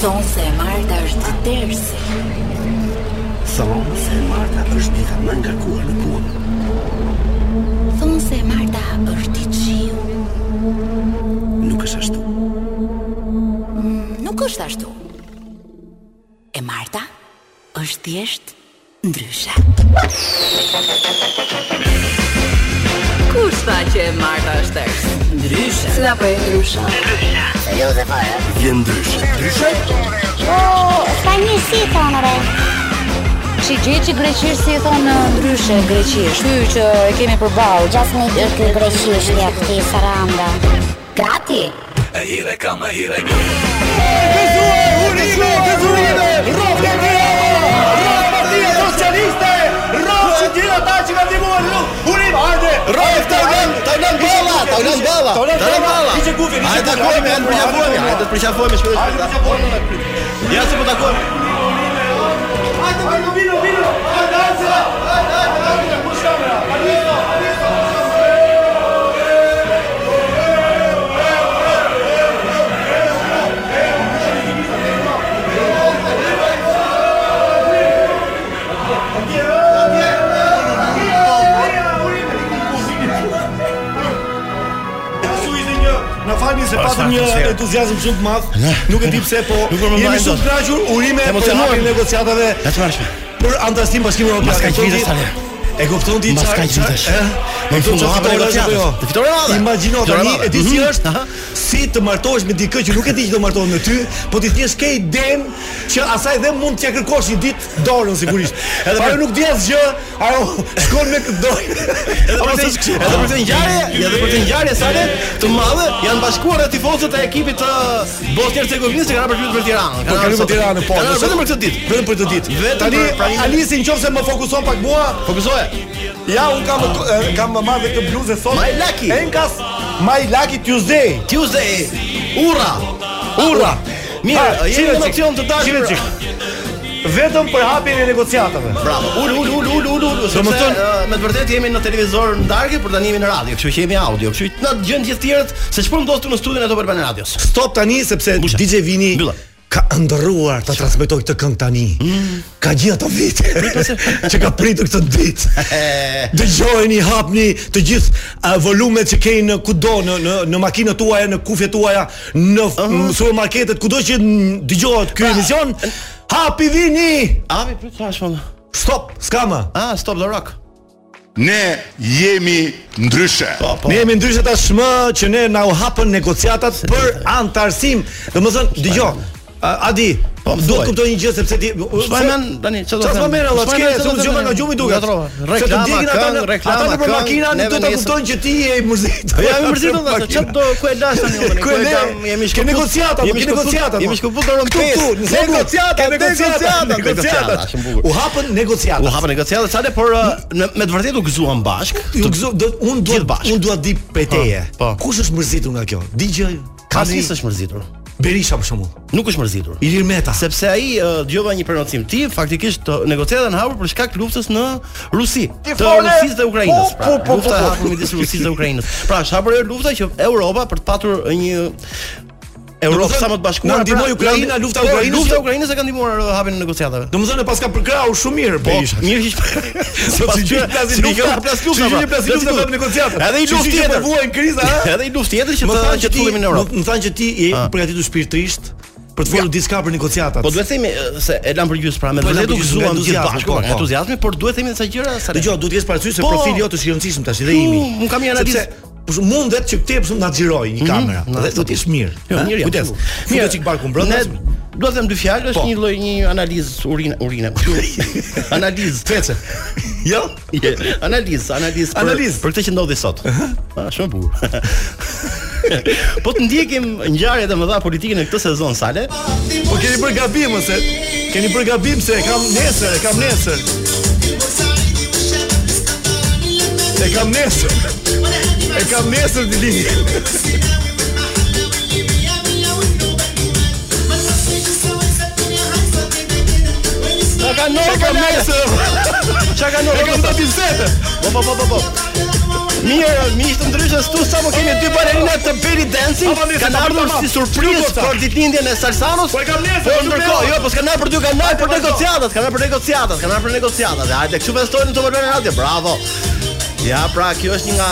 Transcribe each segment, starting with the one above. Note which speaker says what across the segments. Speaker 1: Thonë se e Marta është tërsi.
Speaker 2: Thonë se Marta është dita më nga kuar në punë.
Speaker 1: Thonë se e Marta është i qiu.
Speaker 2: Nuk është ashtu.
Speaker 1: Nuk është ashtu. E Marta është thjesht ndryshe. Kur s'fa që e Marta është tërsi? Ndryshe. S'la po e ndryshe.
Speaker 2: Vjen ndryshe. Ndryshe?
Speaker 3: Ka një si thonë re
Speaker 4: Shi gjeçi greqisht si e thonë ndryshe greqisht. Ky që e kemi përballë.
Speaker 3: Gjasmi është ky greqishtja këti saranda Gati
Speaker 5: Hajde takojmë, hajde të përqafohemi, hajde të përqafohemi shpejt. Ja se po takojmë.
Speaker 6: Na falni se patëm një
Speaker 5: atmosferë.
Speaker 6: entuziazëm shumë të madh. Nuk e di pse, po
Speaker 5: Nuk përmendaj
Speaker 6: jemi shumë
Speaker 5: dot.
Speaker 6: të kënaqur. Urime për
Speaker 5: Emocionuar.
Speaker 6: hapjen e negociatave
Speaker 5: Ja të marrshme.
Speaker 6: për antarësim pas kimit
Speaker 5: Mas
Speaker 6: evropian.
Speaker 5: ka
Speaker 6: E kupton
Speaker 5: gjithë
Speaker 6: ti-
Speaker 5: tani.
Speaker 6: E kupton ti
Speaker 5: Mas ka gjithë tash. Në fund do hapën negociatët. Të fitore madhe.
Speaker 6: Imagjino
Speaker 5: Fitore
Speaker 6: tani,
Speaker 5: madhe.
Speaker 6: e di si
Speaker 5: Mhm.
Speaker 6: është
Speaker 5: Aha.
Speaker 6: si të martohesh me dikë që nuk e di që do martohet me ty, po ti thjesht ke idenë që asaj dhe mund t'ja kërkosh një ditë dorën sigurisht. Edhe ajo nuk di asgjë, ajo shkon me këtë dorë.
Speaker 5: Edhe
Speaker 6: Apo
Speaker 5: për
Speaker 6: s'është
Speaker 5: këtë
Speaker 6: kështu.
Speaker 5: edhe për këtë ngjarje, edhe për këtë ngjarje sale të madhe janë bashkuar edhe tifozët e ekipit të Bosnjës Hercegovinës që kanë ardhur për Tiranë.
Speaker 6: Po kanë për Tiranë po.
Speaker 5: Kanë ardhur
Speaker 6: nëse-
Speaker 5: vetëm për këtë ditë.
Speaker 6: Vetëm për këtë ditë.
Speaker 5: Vetëm
Speaker 6: Tani
Speaker 5: për- pra një-
Speaker 6: Alisi nëse më fokuson pak mua,
Speaker 5: Fokusoje.
Speaker 6: ja un kam e, kam marrë këtë bluzë sot.
Speaker 5: My Lucky.
Speaker 6: Enkas My Lucky Tuesday.
Speaker 5: Tuesday. Urra.
Speaker 6: Urra.
Speaker 5: Mirë,
Speaker 6: Ha,
Speaker 5: jemi
Speaker 6: qire
Speaker 5: në
Speaker 6: qik,
Speaker 5: emocion të
Speaker 6: qire
Speaker 5: dashur.
Speaker 6: qik. Vetëm për hapjen e negociatave.
Speaker 5: Bravo. Ul ul ul ul ul ul. Do
Speaker 6: Do
Speaker 5: të
Speaker 6: më thënë-
Speaker 5: me të vërtetë jemi në televizor në darkë, por tani jemi në radio, kështu që jemi audio. Kështu që na dëgjojnë gjithë tjerët se çfarë ndodh këtu në studion e Top Albana Radios.
Speaker 6: Stop tani sepse
Speaker 5: Mbusha.
Speaker 6: DJ Vini
Speaker 5: Mbylla.
Speaker 6: ka ndërruar ta transmetoj këtë këngë tani. Ka gjithë ato Mm. vite që ka pritur këtë ditë. Dëgjojeni, hapni të gjithë a, volumet që keni në kudo në në, në makinat tuaja, në kufjet tuaja, në f-
Speaker 5: Mhm.
Speaker 6: në supermarketet, kudo që n- dëgjohet
Speaker 5: Pra-
Speaker 6: ky emision, hapi vini.
Speaker 5: Avi, prit çfarë shkon?
Speaker 6: Stop, s'ka më.
Speaker 5: Ah, stop the rock.
Speaker 7: Ne jemi ndryshe.
Speaker 5: Po, po.
Speaker 6: Ne jemi ndryshe tashmë që ne na u hapën negociatat për antarësim. Domethënë, dëgjoj. a- Adi,
Speaker 5: Po, më
Speaker 6: duhet
Speaker 5: thuaj.
Speaker 6: kuptoj një gjë sepse ti
Speaker 5: S'po e men tani, ç'do
Speaker 6: Çfarë
Speaker 5: them?
Speaker 6: më merr Allah,
Speaker 5: S'po e
Speaker 6: çka
Speaker 5: men, ç'do
Speaker 6: se unë
Speaker 5: them
Speaker 6: gjova nga
Speaker 5: tani?
Speaker 6: gjumi duket.
Speaker 5: Ngatrova.
Speaker 6: Se të
Speaker 5: Reklama,
Speaker 6: ndjekin ata
Speaker 5: këngë,
Speaker 6: në-
Speaker 5: reklama,
Speaker 6: Ata nëpër
Speaker 5: këngë,
Speaker 6: makina nuk
Speaker 5: neve
Speaker 6: do ta
Speaker 5: nesër.
Speaker 6: kuptojnë që ti je i mërzitur.
Speaker 5: Po jam i mërzitën dhe
Speaker 6: Makina.
Speaker 5: çfarë do ku e lash tani unë.
Speaker 6: Ku e le? Ke negociata, po, ke negociata, po.
Speaker 5: Jemi shkëput dorën
Speaker 6: Këtu,
Speaker 5: 5.
Speaker 6: këtu, në zonë negociata, negociata, negociata.
Speaker 5: Është e bukur.
Speaker 6: U hapën
Speaker 5: U
Speaker 6: negociata.
Speaker 5: hapën negociata sale, por ë, me me të vërtetë u gëzuan bashk.
Speaker 6: Ju gëzo, do- unë
Speaker 5: Gjithë
Speaker 6: dua
Speaker 5: bashkë.
Speaker 6: unë dua di prej teje.
Speaker 5: po.
Speaker 6: Kush është mërzitur nga kjo? Digjë
Speaker 5: Kasi s'është mërzitur.
Speaker 6: Berisha për shembull.
Speaker 5: Nuk është mërzitur.
Speaker 6: Ilir Meta.
Speaker 5: Sepse ai ë, dëgjova një prenotsim. Ti faktikisht ë, negociata janë hapur për shkak të luftës në Rusi, të
Speaker 6: fole!
Speaker 5: Rusisë dhe Ukrainës.
Speaker 6: Po,
Speaker 5: Pra,
Speaker 6: po, po,
Speaker 5: lufta e
Speaker 6: po.
Speaker 5: hapur midis Rusisë dhe Ukrainës. Pra, është hapur ajo lufta që Europa për të patur një Europë
Speaker 6: thënë,
Speaker 5: sa më të bashkuar.
Speaker 6: na ndihmoi
Speaker 5: pra,
Speaker 6: Ukraina,
Speaker 5: na-
Speaker 6: lufta
Speaker 5: po,
Speaker 6: Ukrainës
Speaker 5: Lufta
Speaker 6: që-
Speaker 5: e Ukrainës e ka ndihmuar ë, hapjen e negociatave.
Speaker 6: Domethënë paska përkrau shumë mirë
Speaker 5: Po,
Speaker 6: Berisha.
Speaker 5: mirë që
Speaker 6: Se
Speaker 5: Pas
Speaker 6: si gjë
Speaker 5: tyre-
Speaker 6: plasin
Speaker 5: si
Speaker 6: lufta,
Speaker 5: lufta, plas lufta,
Speaker 6: si gjë
Speaker 5: pra,
Speaker 6: plasin
Speaker 5: plas
Speaker 6: lufta
Speaker 5: lufta.
Speaker 6: për negociata.
Speaker 5: Edhe i
Speaker 6: Si
Speaker 5: luftë
Speaker 6: gjë
Speaker 5: tjetër.
Speaker 6: po vuajnë kriza, ha?
Speaker 5: Edhe i luftë tjetër që
Speaker 6: Më
Speaker 5: të
Speaker 6: thanë
Speaker 5: që të fillimin në Europë. Ah.
Speaker 6: Më më thanë që ti je përgatitur shpirtërisht për të folur diçka për negociatat.
Speaker 5: Po duhet të themi e, se e lan për gjysmë pra me
Speaker 6: Po, e lan
Speaker 5: vërtet u
Speaker 6: përgjysmë,
Speaker 5: gëzuam
Speaker 6: nga
Speaker 5: gjithë
Speaker 6: entuziazmi,
Speaker 5: bashku
Speaker 6: po,
Speaker 5: nga
Speaker 6: po.
Speaker 5: entuziazmi, por duhet të themi disa gjëra sa
Speaker 6: Dëgjoj, duhet të kesh parasysh se
Speaker 5: Po.
Speaker 6: profili jot është i rëndësishëm tash dhe
Speaker 5: U,
Speaker 6: imi.
Speaker 5: unë kam një analizë.
Speaker 6: Sepse, për shembull, mundet që këtë pse na xhiroj një kamera.
Speaker 5: na,
Speaker 6: Dhe do të jesh mirë.
Speaker 5: Jo,
Speaker 6: ha?
Speaker 5: mirë jam.
Speaker 6: Kujdes. Mirë çik barkun
Speaker 5: Ne
Speaker 6: brenda.
Speaker 5: do të them dy fjalë, është
Speaker 6: Po.
Speaker 5: një lloj një analizë urine urine. analizë.
Speaker 6: Fece. Jo?
Speaker 5: Je, analizë, analizë për,
Speaker 6: Analizë.
Speaker 5: për këtë që ndodhi sot. Ah, shumë e bukur. po të ndjekim ngjarjet e mëdha politike në këtë sezon sale.
Speaker 6: Po keni bërë gabim ose? Keni bërë gabim se e kam nesër, e kam nesër. E kam nesër. E kam nesër dilin.
Speaker 5: Çka kanë
Speaker 6: E kam nesër.
Speaker 5: Çka kanë
Speaker 6: E kam
Speaker 5: nërë?
Speaker 6: datë 27.
Speaker 5: Po po po po po. Mirë, miq të ndryshëm, këtu sapo kemi dy balerina të belly dancing.
Speaker 6: Apo mirë,
Speaker 5: Kanë
Speaker 6: tamam,
Speaker 5: ardhur
Speaker 6: tamam.
Speaker 5: si surprizë
Speaker 6: Lugoca.
Speaker 5: për ditëlindjen e Salsanos.
Speaker 6: Po e kam nesër,
Speaker 5: Po
Speaker 6: shumë
Speaker 5: ndërkohë,
Speaker 6: mirë.
Speaker 5: jo, po s'kan ardhur për dy kanë ardhur për
Speaker 6: Po, po, po.
Speaker 5: negociatat, kanë ardhur për negociatat, kanë ardhur për negociatat. Hajde, kështu festojnë të Balkan Radio. Bravo. Ja, pra, kjo është një nga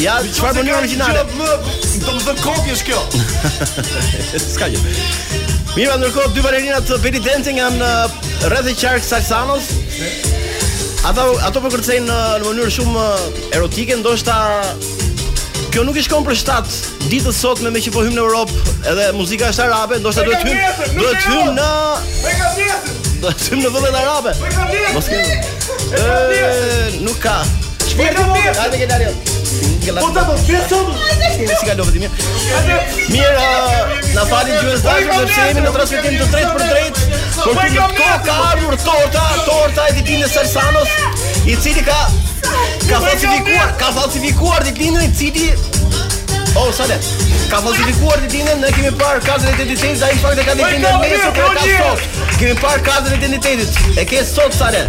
Speaker 5: Ja, çfarë
Speaker 6: Qoftë
Speaker 5: punë
Speaker 6: ka
Speaker 5: origjinale?
Speaker 6: gjë më- Do më thënë kopje është kjo
Speaker 5: S'ka gjë. Mirë, ndërkohë dy balerina të belly dancing janë uh, rreth e qark Salsanos. Ata ato po kërcejnë uh, në mënyrë shumë uh, erotike, ndoshta kjo nuk i shkon për shtat ditës sot me me që po hym në Europë edhe muzika është arabe, ndoshta
Speaker 6: Po e
Speaker 5: duhet
Speaker 6: kam
Speaker 5: hym
Speaker 6: nesër, nuk
Speaker 5: duhet
Speaker 6: lejon.
Speaker 5: hym në
Speaker 6: Me ka vjetën
Speaker 5: duhet hym në vëllet arabe.
Speaker 6: Me ka vjetën
Speaker 5: Mos
Speaker 6: ke
Speaker 5: kemi.
Speaker 6: E ka vjetën
Speaker 5: Ë, nuk ka.
Speaker 6: Me ka vjetën
Speaker 5: Hajde që dalë.
Speaker 6: Po të po të sot
Speaker 5: si ka lodhë mirë.
Speaker 6: Hajde.
Speaker 5: Mirë, ë, na falin gjyës dashur sepse jemi në transmetim të drejtë për drejtë. Por
Speaker 6: Po e
Speaker 5: ti
Speaker 6: kam
Speaker 5: ko ka
Speaker 6: nesër.
Speaker 5: ardhur torta, torta e ditën e Salsanos, i cili ka ka
Speaker 6: Po e kam
Speaker 5: falsifikuar,
Speaker 6: nesër.
Speaker 5: ka falsifikuar ditën i cili Oh, sale. Ka falsifikuar ditën, ne kemi parë kartën e identitetit, ai në fakt e ka ditën e
Speaker 6: kam
Speaker 5: nesër,
Speaker 6: nesër,
Speaker 5: por e ka
Speaker 6: po gjirë.
Speaker 5: sot. Kemi parë kartën e identitetit. E ke sot sale.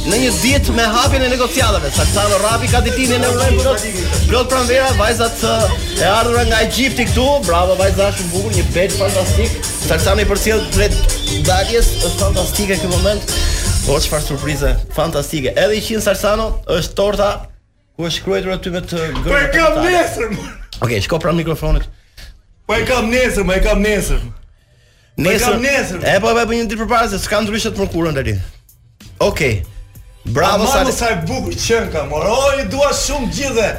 Speaker 5: Në një ditë me hapjen e negociatave, Salsano Rapi ka ditën e në urojmë plot, plot pranvera, vajzat ë, e ardhura nga Egjipti këtu. Bravo vajza, shumë bukur, një bet fantastik. Salsano i përcjell drejt daljes, është fantastike ky moment. Po çfarë surprize fantastike. Edhe i qin Salsano është torta ku është shkruar aty me të
Speaker 6: Po e
Speaker 5: gërma
Speaker 6: kam
Speaker 5: kapitale.
Speaker 6: nesër mo.
Speaker 5: Okej, shko pranë mikrofonit.
Speaker 6: Po e kam nesër, po e kam nesër
Speaker 5: Nesër.
Speaker 6: kam nesër.
Speaker 5: E po e bëj një ditë përpara se s'ka ndryshe të mërkurën deri. Okej. Bravo
Speaker 6: Ama
Speaker 5: Sale.
Speaker 6: sa e bukur qen ka mor. O, i dua shumë gjithë. dhe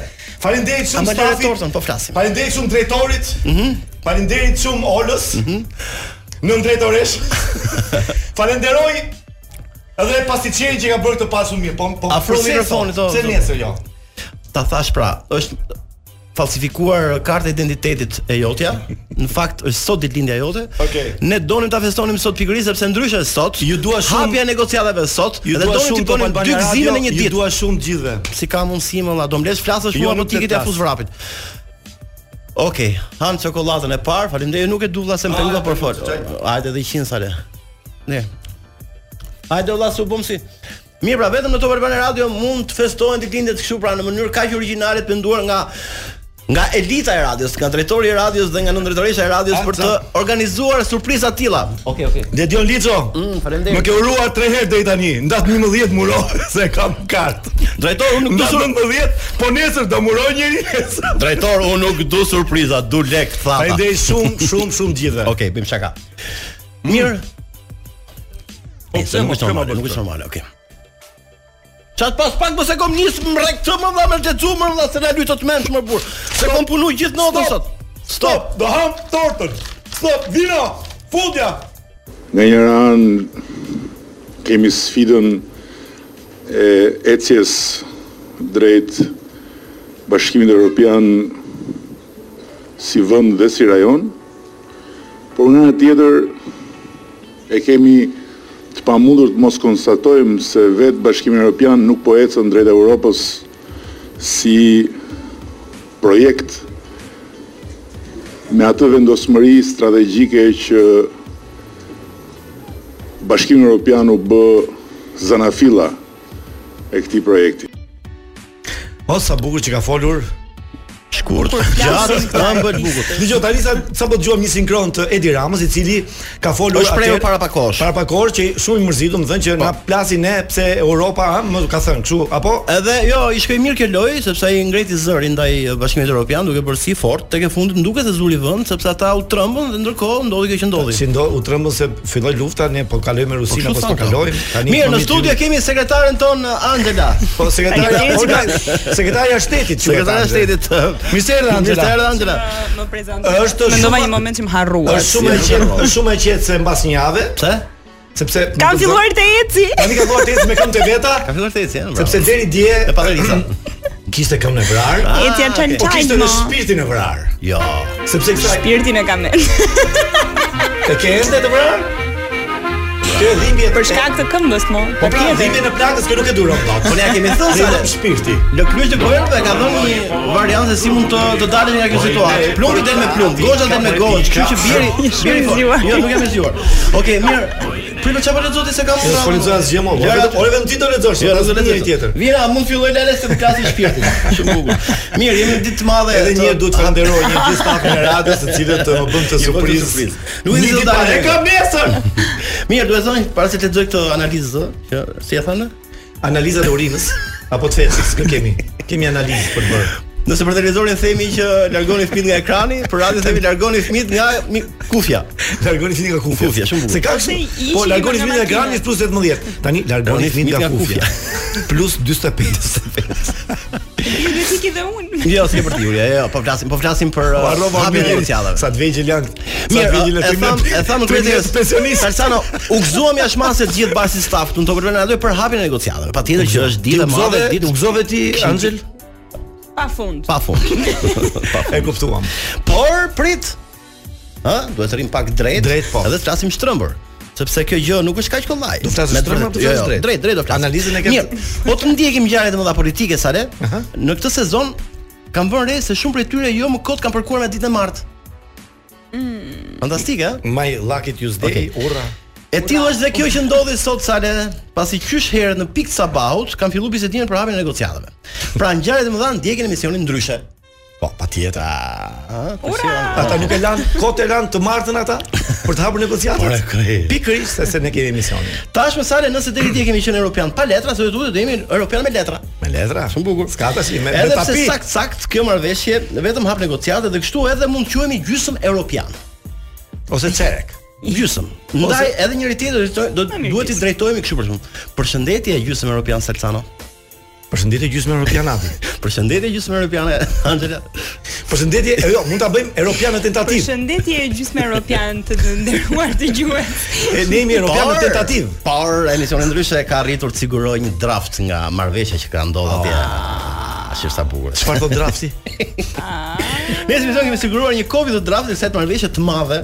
Speaker 6: Faleminderit shumë
Speaker 5: Ama lere
Speaker 6: stafit.
Speaker 5: tortën, po flasim.
Speaker 6: Faleminderit shumë drejtorit. Mhm. Faleminderit shumë Olës. Mhm. Nën drejtoresh. Falenderoj edhe pastiçeri që ka bërë këtë pasun mirë. Po po
Speaker 5: Afro
Speaker 6: pse
Speaker 5: mikrofonit,
Speaker 6: sot?
Speaker 5: o,
Speaker 6: Pse
Speaker 5: zot.
Speaker 6: nesër jo?
Speaker 5: Ta thash pra, është falsifikuar karta e identitetit e jotja. Në fakt është sot ditëlindja jote.
Speaker 6: Okej.
Speaker 5: Ne donim ta festonim sot pikërisht sepse ndryshe sot
Speaker 6: Ju dua shumë-
Speaker 5: hapja e negociatave sot dhe donim të bënim dy gëzime në një ditë.
Speaker 6: dua shumë gjithëve.
Speaker 5: Si ka mundësi më valla, do mblesh flasësh
Speaker 6: Jo,
Speaker 5: mua po
Speaker 6: nuk
Speaker 5: tikit
Speaker 6: le
Speaker 5: e
Speaker 6: flas.
Speaker 5: fus vrapit. Okej, han çokoladën e parë. Faleminderit, nuk e duvlla se më
Speaker 6: Ah,
Speaker 5: pelua për fol.
Speaker 6: çaj.
Speaker 5: Hajde edhe 100 sale. Ne. Hajde valla su bëm si. Mirë, pra vetëm në Top Albana Radio mund të festohen ditëlindjet kështu pra në mënyrë kaq origjinale të penduar nga nga elita e radios, nga drejtori i radios dhe nga nëndrejtoresha e radios për të organizuar surpriza të tilla. Okej, okej.
Speaker 6: Dhe Dion Liço.
Speaker 5: Mm, faleminderit.
Speaker 6: Më ke uruar 3 herë deri tani. Ndat 11 muro se kam kart.
Speaker 5: Drejtori, unë nuk
Speaker 6: Ndat
Speaker 5: du
Speaker 6: 19, po nesër do muroj njëri.
Speaker 5: Drejtor, unë nuk du surpriza, du lek thata.
Speaker 6: Faleminderit shumë, shumë, shumë gjithëve.
Speaker 5: Okej, bëjmë çaka. Mirë. Po
Speaker 6: pse,
Speaker 5: nuk
Speaker 6: mos
Speaker 5: është
Speaker 6: kema
Speaker 5: normale,
Speaker 6: bërë
Speaker 5: nuk
Speaker 6: këtë?
Speaker 5: është normale, okay. Çat pas pak mos e kom nis më rrek këtë më dha më të xumën dha se na lutot mend më burr. Se kom punu gjithë natën sot.
Speaker 6: Stop.
Speaker 5: Stop.
Speaker 6: Do ham tortën. Stop, vino. Futja.
Speaker 8: Nga njëra anë kemi sfidën e ecjes drejt Bashkimit Evropian si vend dhe si rajon, por nga ana tjetër e kemi të pamundur të mos konstatojmë se vetë Bashkimi Evropian nuk po ecën drejt Europës si projekt me atë vendosmëri strategjike që Bashkimi Evropian u bë zanafilla e këtij projekti.
Speaker 6: O sa bukur që ka folur.
Speaker 5: Shkurt. Gjatë ëmbël bukur.
Speaker 6: Dgjoj tani sa sa po dëgjojmë një sinkron të Edi Ramës, i cili ka folur
Speaker 5: Është prerë
Speaker 6: atëherë-
Speaker 5: para pak kohësh.
Speaker 6: Para pak kohësh që shumë i mërzitur, më thënë që na plasin ne pse Europa ha, më ka thënë kështu, apo
Speaker 5: Edhe jo, i shkoi mirë kjo lojë sepse ai ngreti zërin ndaj Bashkimit Evropian duke bërë si fort, tek e fundit më duket se zuri vend sepse ata u trembën dhe ndërkohë ndodhi kjo që ndodhi.
Speaker 6: si ndo u trembën se filloi lufta, ne po kalojmë me Rusinë apo
Speaker 5: kështu
Speaker 6: s'po
Speaker 5: thanë.
Speaker 6: kalojmë. Tani
Speaker 5: Mirë, në
Speaker 6: mami
Speaker 5: studio
Speaker 6: t'ju-
Speaker 5: kemi sekretaren ton uh, Angela.
Speaker 6: po sekretarja
Speaker 9: Faleminderit.
Speaker 6: Olga, sekretarja e shtetit, quhet,
Speaker 5: Sekretarja e
Speaker 6: Angela.
Speaker 5: shtetit. uh,
Speaker 6: Mirë se erdhe, Angela.
Speaker 5: Mirë se erdhe, Angela.
Speaker 9: më prezantoj.
Speaker 6: Është
Speaker 9: Mendova
Speaker 6: shumë-
Speaker 9: një moment që më harrua.
Speaker 6: Është shumë e qetë, është shumë e qetë se mbas një jave,
Speaker 5: Pse?
Speaker 6: sepse
Speaker 9: Kam filluar të eci.
Speaker 6: Tani ka filluar tesi me këmbë të veta,
Speaker 5: Ka filluar të ecë,
Speaker 6: sepse deri dje
Speaker 5: e pa Elisa.
Speaker 6: kishte këmbë në vrar,
Speaker 9: Ecja çan
Speaker 6: po kishte
Speaker 9: çan
Speaker 6: edhe
Speaker 9: më.
Speaker 6: shpirtin në vrar.
Speaker 5: Jo.
Speaker 6: Sepse kësaj
Speaker 9: Pirtin e kam ne.
Speaker 6: e ke ende të vrar? Kjo e dhimbje
Speaker 9: Për shkak të këmbës mo.
Speaker 6: Po pra, dhimbje në plakës që nuk e duron dot.
Speaker 5: Po ne ja kemi thënë
Speaker 6: Dhe
Speaker 5: se
Speaker 6: i dhëm shpirti.
Speaker 5: Lë kryq të gojën dhe ka dhënë një variant se si mund të të dalet nga kjo situatë. Plumbi del me plumb, gozha del me gozh, kështu që bieri bieri fort. Jo, nuk jam e zgjuar. Okej, mirë. Prilo çfarë po lexoti se kam.
Speaker 6: Po lexoj asgjë më.
Speaker 5: Ja,
Speaker 6: vetëm- Ore vetëm ti do lexosh,
Speaker 5: Jo,
Speaker 6: as
Speaker 5: nuk
Speaker 6: njëri
Speaker 5: lexoj
Speaker 6: tjetër.
Speaker 5: Vira, mund filloj lale se më klasi shpirtin. Shumë bukur. Mirë, jemi në ditë të madhe.
Speaker 6: Edhe një herë duhet të
Speaker 5: të
Speaker 6: falenderoj një gjithë stafin e radios, të cilët uh, më bën të
Speaker 5: Ju bën të
Speaker 6: surprizë.
Speaker 5: surprizë. Nuk e di se do dalë.
Speaker 6: E kam nesër.
Speaker 5: Mirë, duhet thonë para se të lexoj këtë analizë, ë, që si e thonë?
Speaker 6: Analizat e urinës apo të fecës, nuk kemi. Kemi analizë për të bërë.
Speaker 5: Nëse për televizorin themi që largoni fëmit nga ekrani, për radio themi largoni fëmit nga mi- kufja.
Speaker 6: Largoni fini nga kufja.
Speaker 5: Kufja, shumë bukur.
Speaker 6: Se ka
Speaker 9: Pse
Speaker 6: kështu.
Speaker 9: ishi
Speaker 6: Po largoni
Speaker 9: me
Speaker 6: fini nga
Speaker 9: makina?
Speaker 6: ekrani plus 18. Tani largoni fini nga kufja. Plus 45.
Speaker 9: Ju do t'i dhe unë.
Speaker 5: Jo, s'ke për t'jurja, jo, po flasim, po flasim për
Speaker 6: Po harrova
Speaker 5: hapjen e
Speaker 6: mirë.
Speaker 5: socialeve.
Speaker 6: Sa të vegjël janë. Sa të
Speaker 5: Mirë,
Speaker 6: vegjël
Speaker 5: e tham, e tham kryetarës pensionist. Salsano, u gëzuam jashtë se të gjithë basi stafut në Topër Vernadoj për hapjen e negociatave. Patjetër që është ditë e madhe, ditë u gëzove ti Angel
Speaker 9: Pa fund.
Speaker 5: pa fund.
Speaker 6: E kuptuam.
Speaker 5: Por prit. Ë, duhet të rrim pak drejt,
Speaker 6: Drejt, po.
Speaker 5: edhe të flasim shtrëmbër. Sepse kjo gjë nuk është kaq kollaj.
Speaker 6: Do flasësh
Speaker 5: Me
Speaker 6: shtrëmbër apo
Speaker 5: jo,
Speaker 6: flasësh
Speaker 5: jo,
Speaker 6: drejt?
Speaker 5: Drejt, drejt do flas.
Speaker 6: Analizën e ke-
Speaker 5: Mirë, po të ndjekim ngjarjet e mëdha politike sa le. Në këtë sezon kam vënë re se shumë prej tyre jo më kot kanë përkuar me ditën e martë. Fantastike, ë?
Speaker 6: My lucky Tuesday,
Speaker 5: Okej.
Speaker 6: urra.
Speaker 5: E tillë është dhe kjo që ndodhi sot sale, pasi qysh herë në pikë të sabahut kanë filluar bisedime për hapjen e negociatave. Pra ngjarjet e mëdha ndjekin emisionin ndryshe.
Speaker 6: Po, patjetër.
Speaker 5: Ëh,
Speaker 6: Ah. Ata nuk e lanë, kot e lanë të martën ata për të hapur negociatat. Pikërisht se se ne kemi emisionin.
Speaker 5: Tashmë sale nëse deri dje kemi qenë europian pa letra, sot duhet të jemi europian me letra.
Speaker 6: Me letra. Shumë bukur. S'ka tash me, me
Speaker 5: Edhe pse
Speaker 6: tapi.
Speaker 5: sakt sakt kjo marrëveshje vetëm hap negociate dhe kështu edhe mund të quhemi gjysmë europian.
Speaker 6: Ose çerek.
Speaker 5: Gjysmë. Ndaj edhe njëri tjetër do do- duhet i drejtohemi kështu për shkak. Përshëndetje gjysmë europian Salsano.
Speaker 6: Përshëndetje gjysmë europianati.
Speaker 5: Përshëndetje gjysmë europiane Angela.
Speaker 6: Përshëndetje, e, jo, mund ta bëjmë europian në tentativë.
Speaker 9: Përshëndetje e gjysmë europian të të nderuar dëgjues.
Speaker 6: E, Ne jemi europian në
Speaker 5: Por-
Speaker 6: tentativë.
Speaker 5: Por emisioni ndryshe ka arritur të sigurojë një draft nga marrëveshja që ka ndodhur atje.
Speaker 6: Ah.
Speaker 5: Ashtu sa bukur.
Speaker 6: Çfarë thot drafti?
Speaker 5: Ne si kemi siguruar një kopje të draftit kësaj marrëveshje të madhe.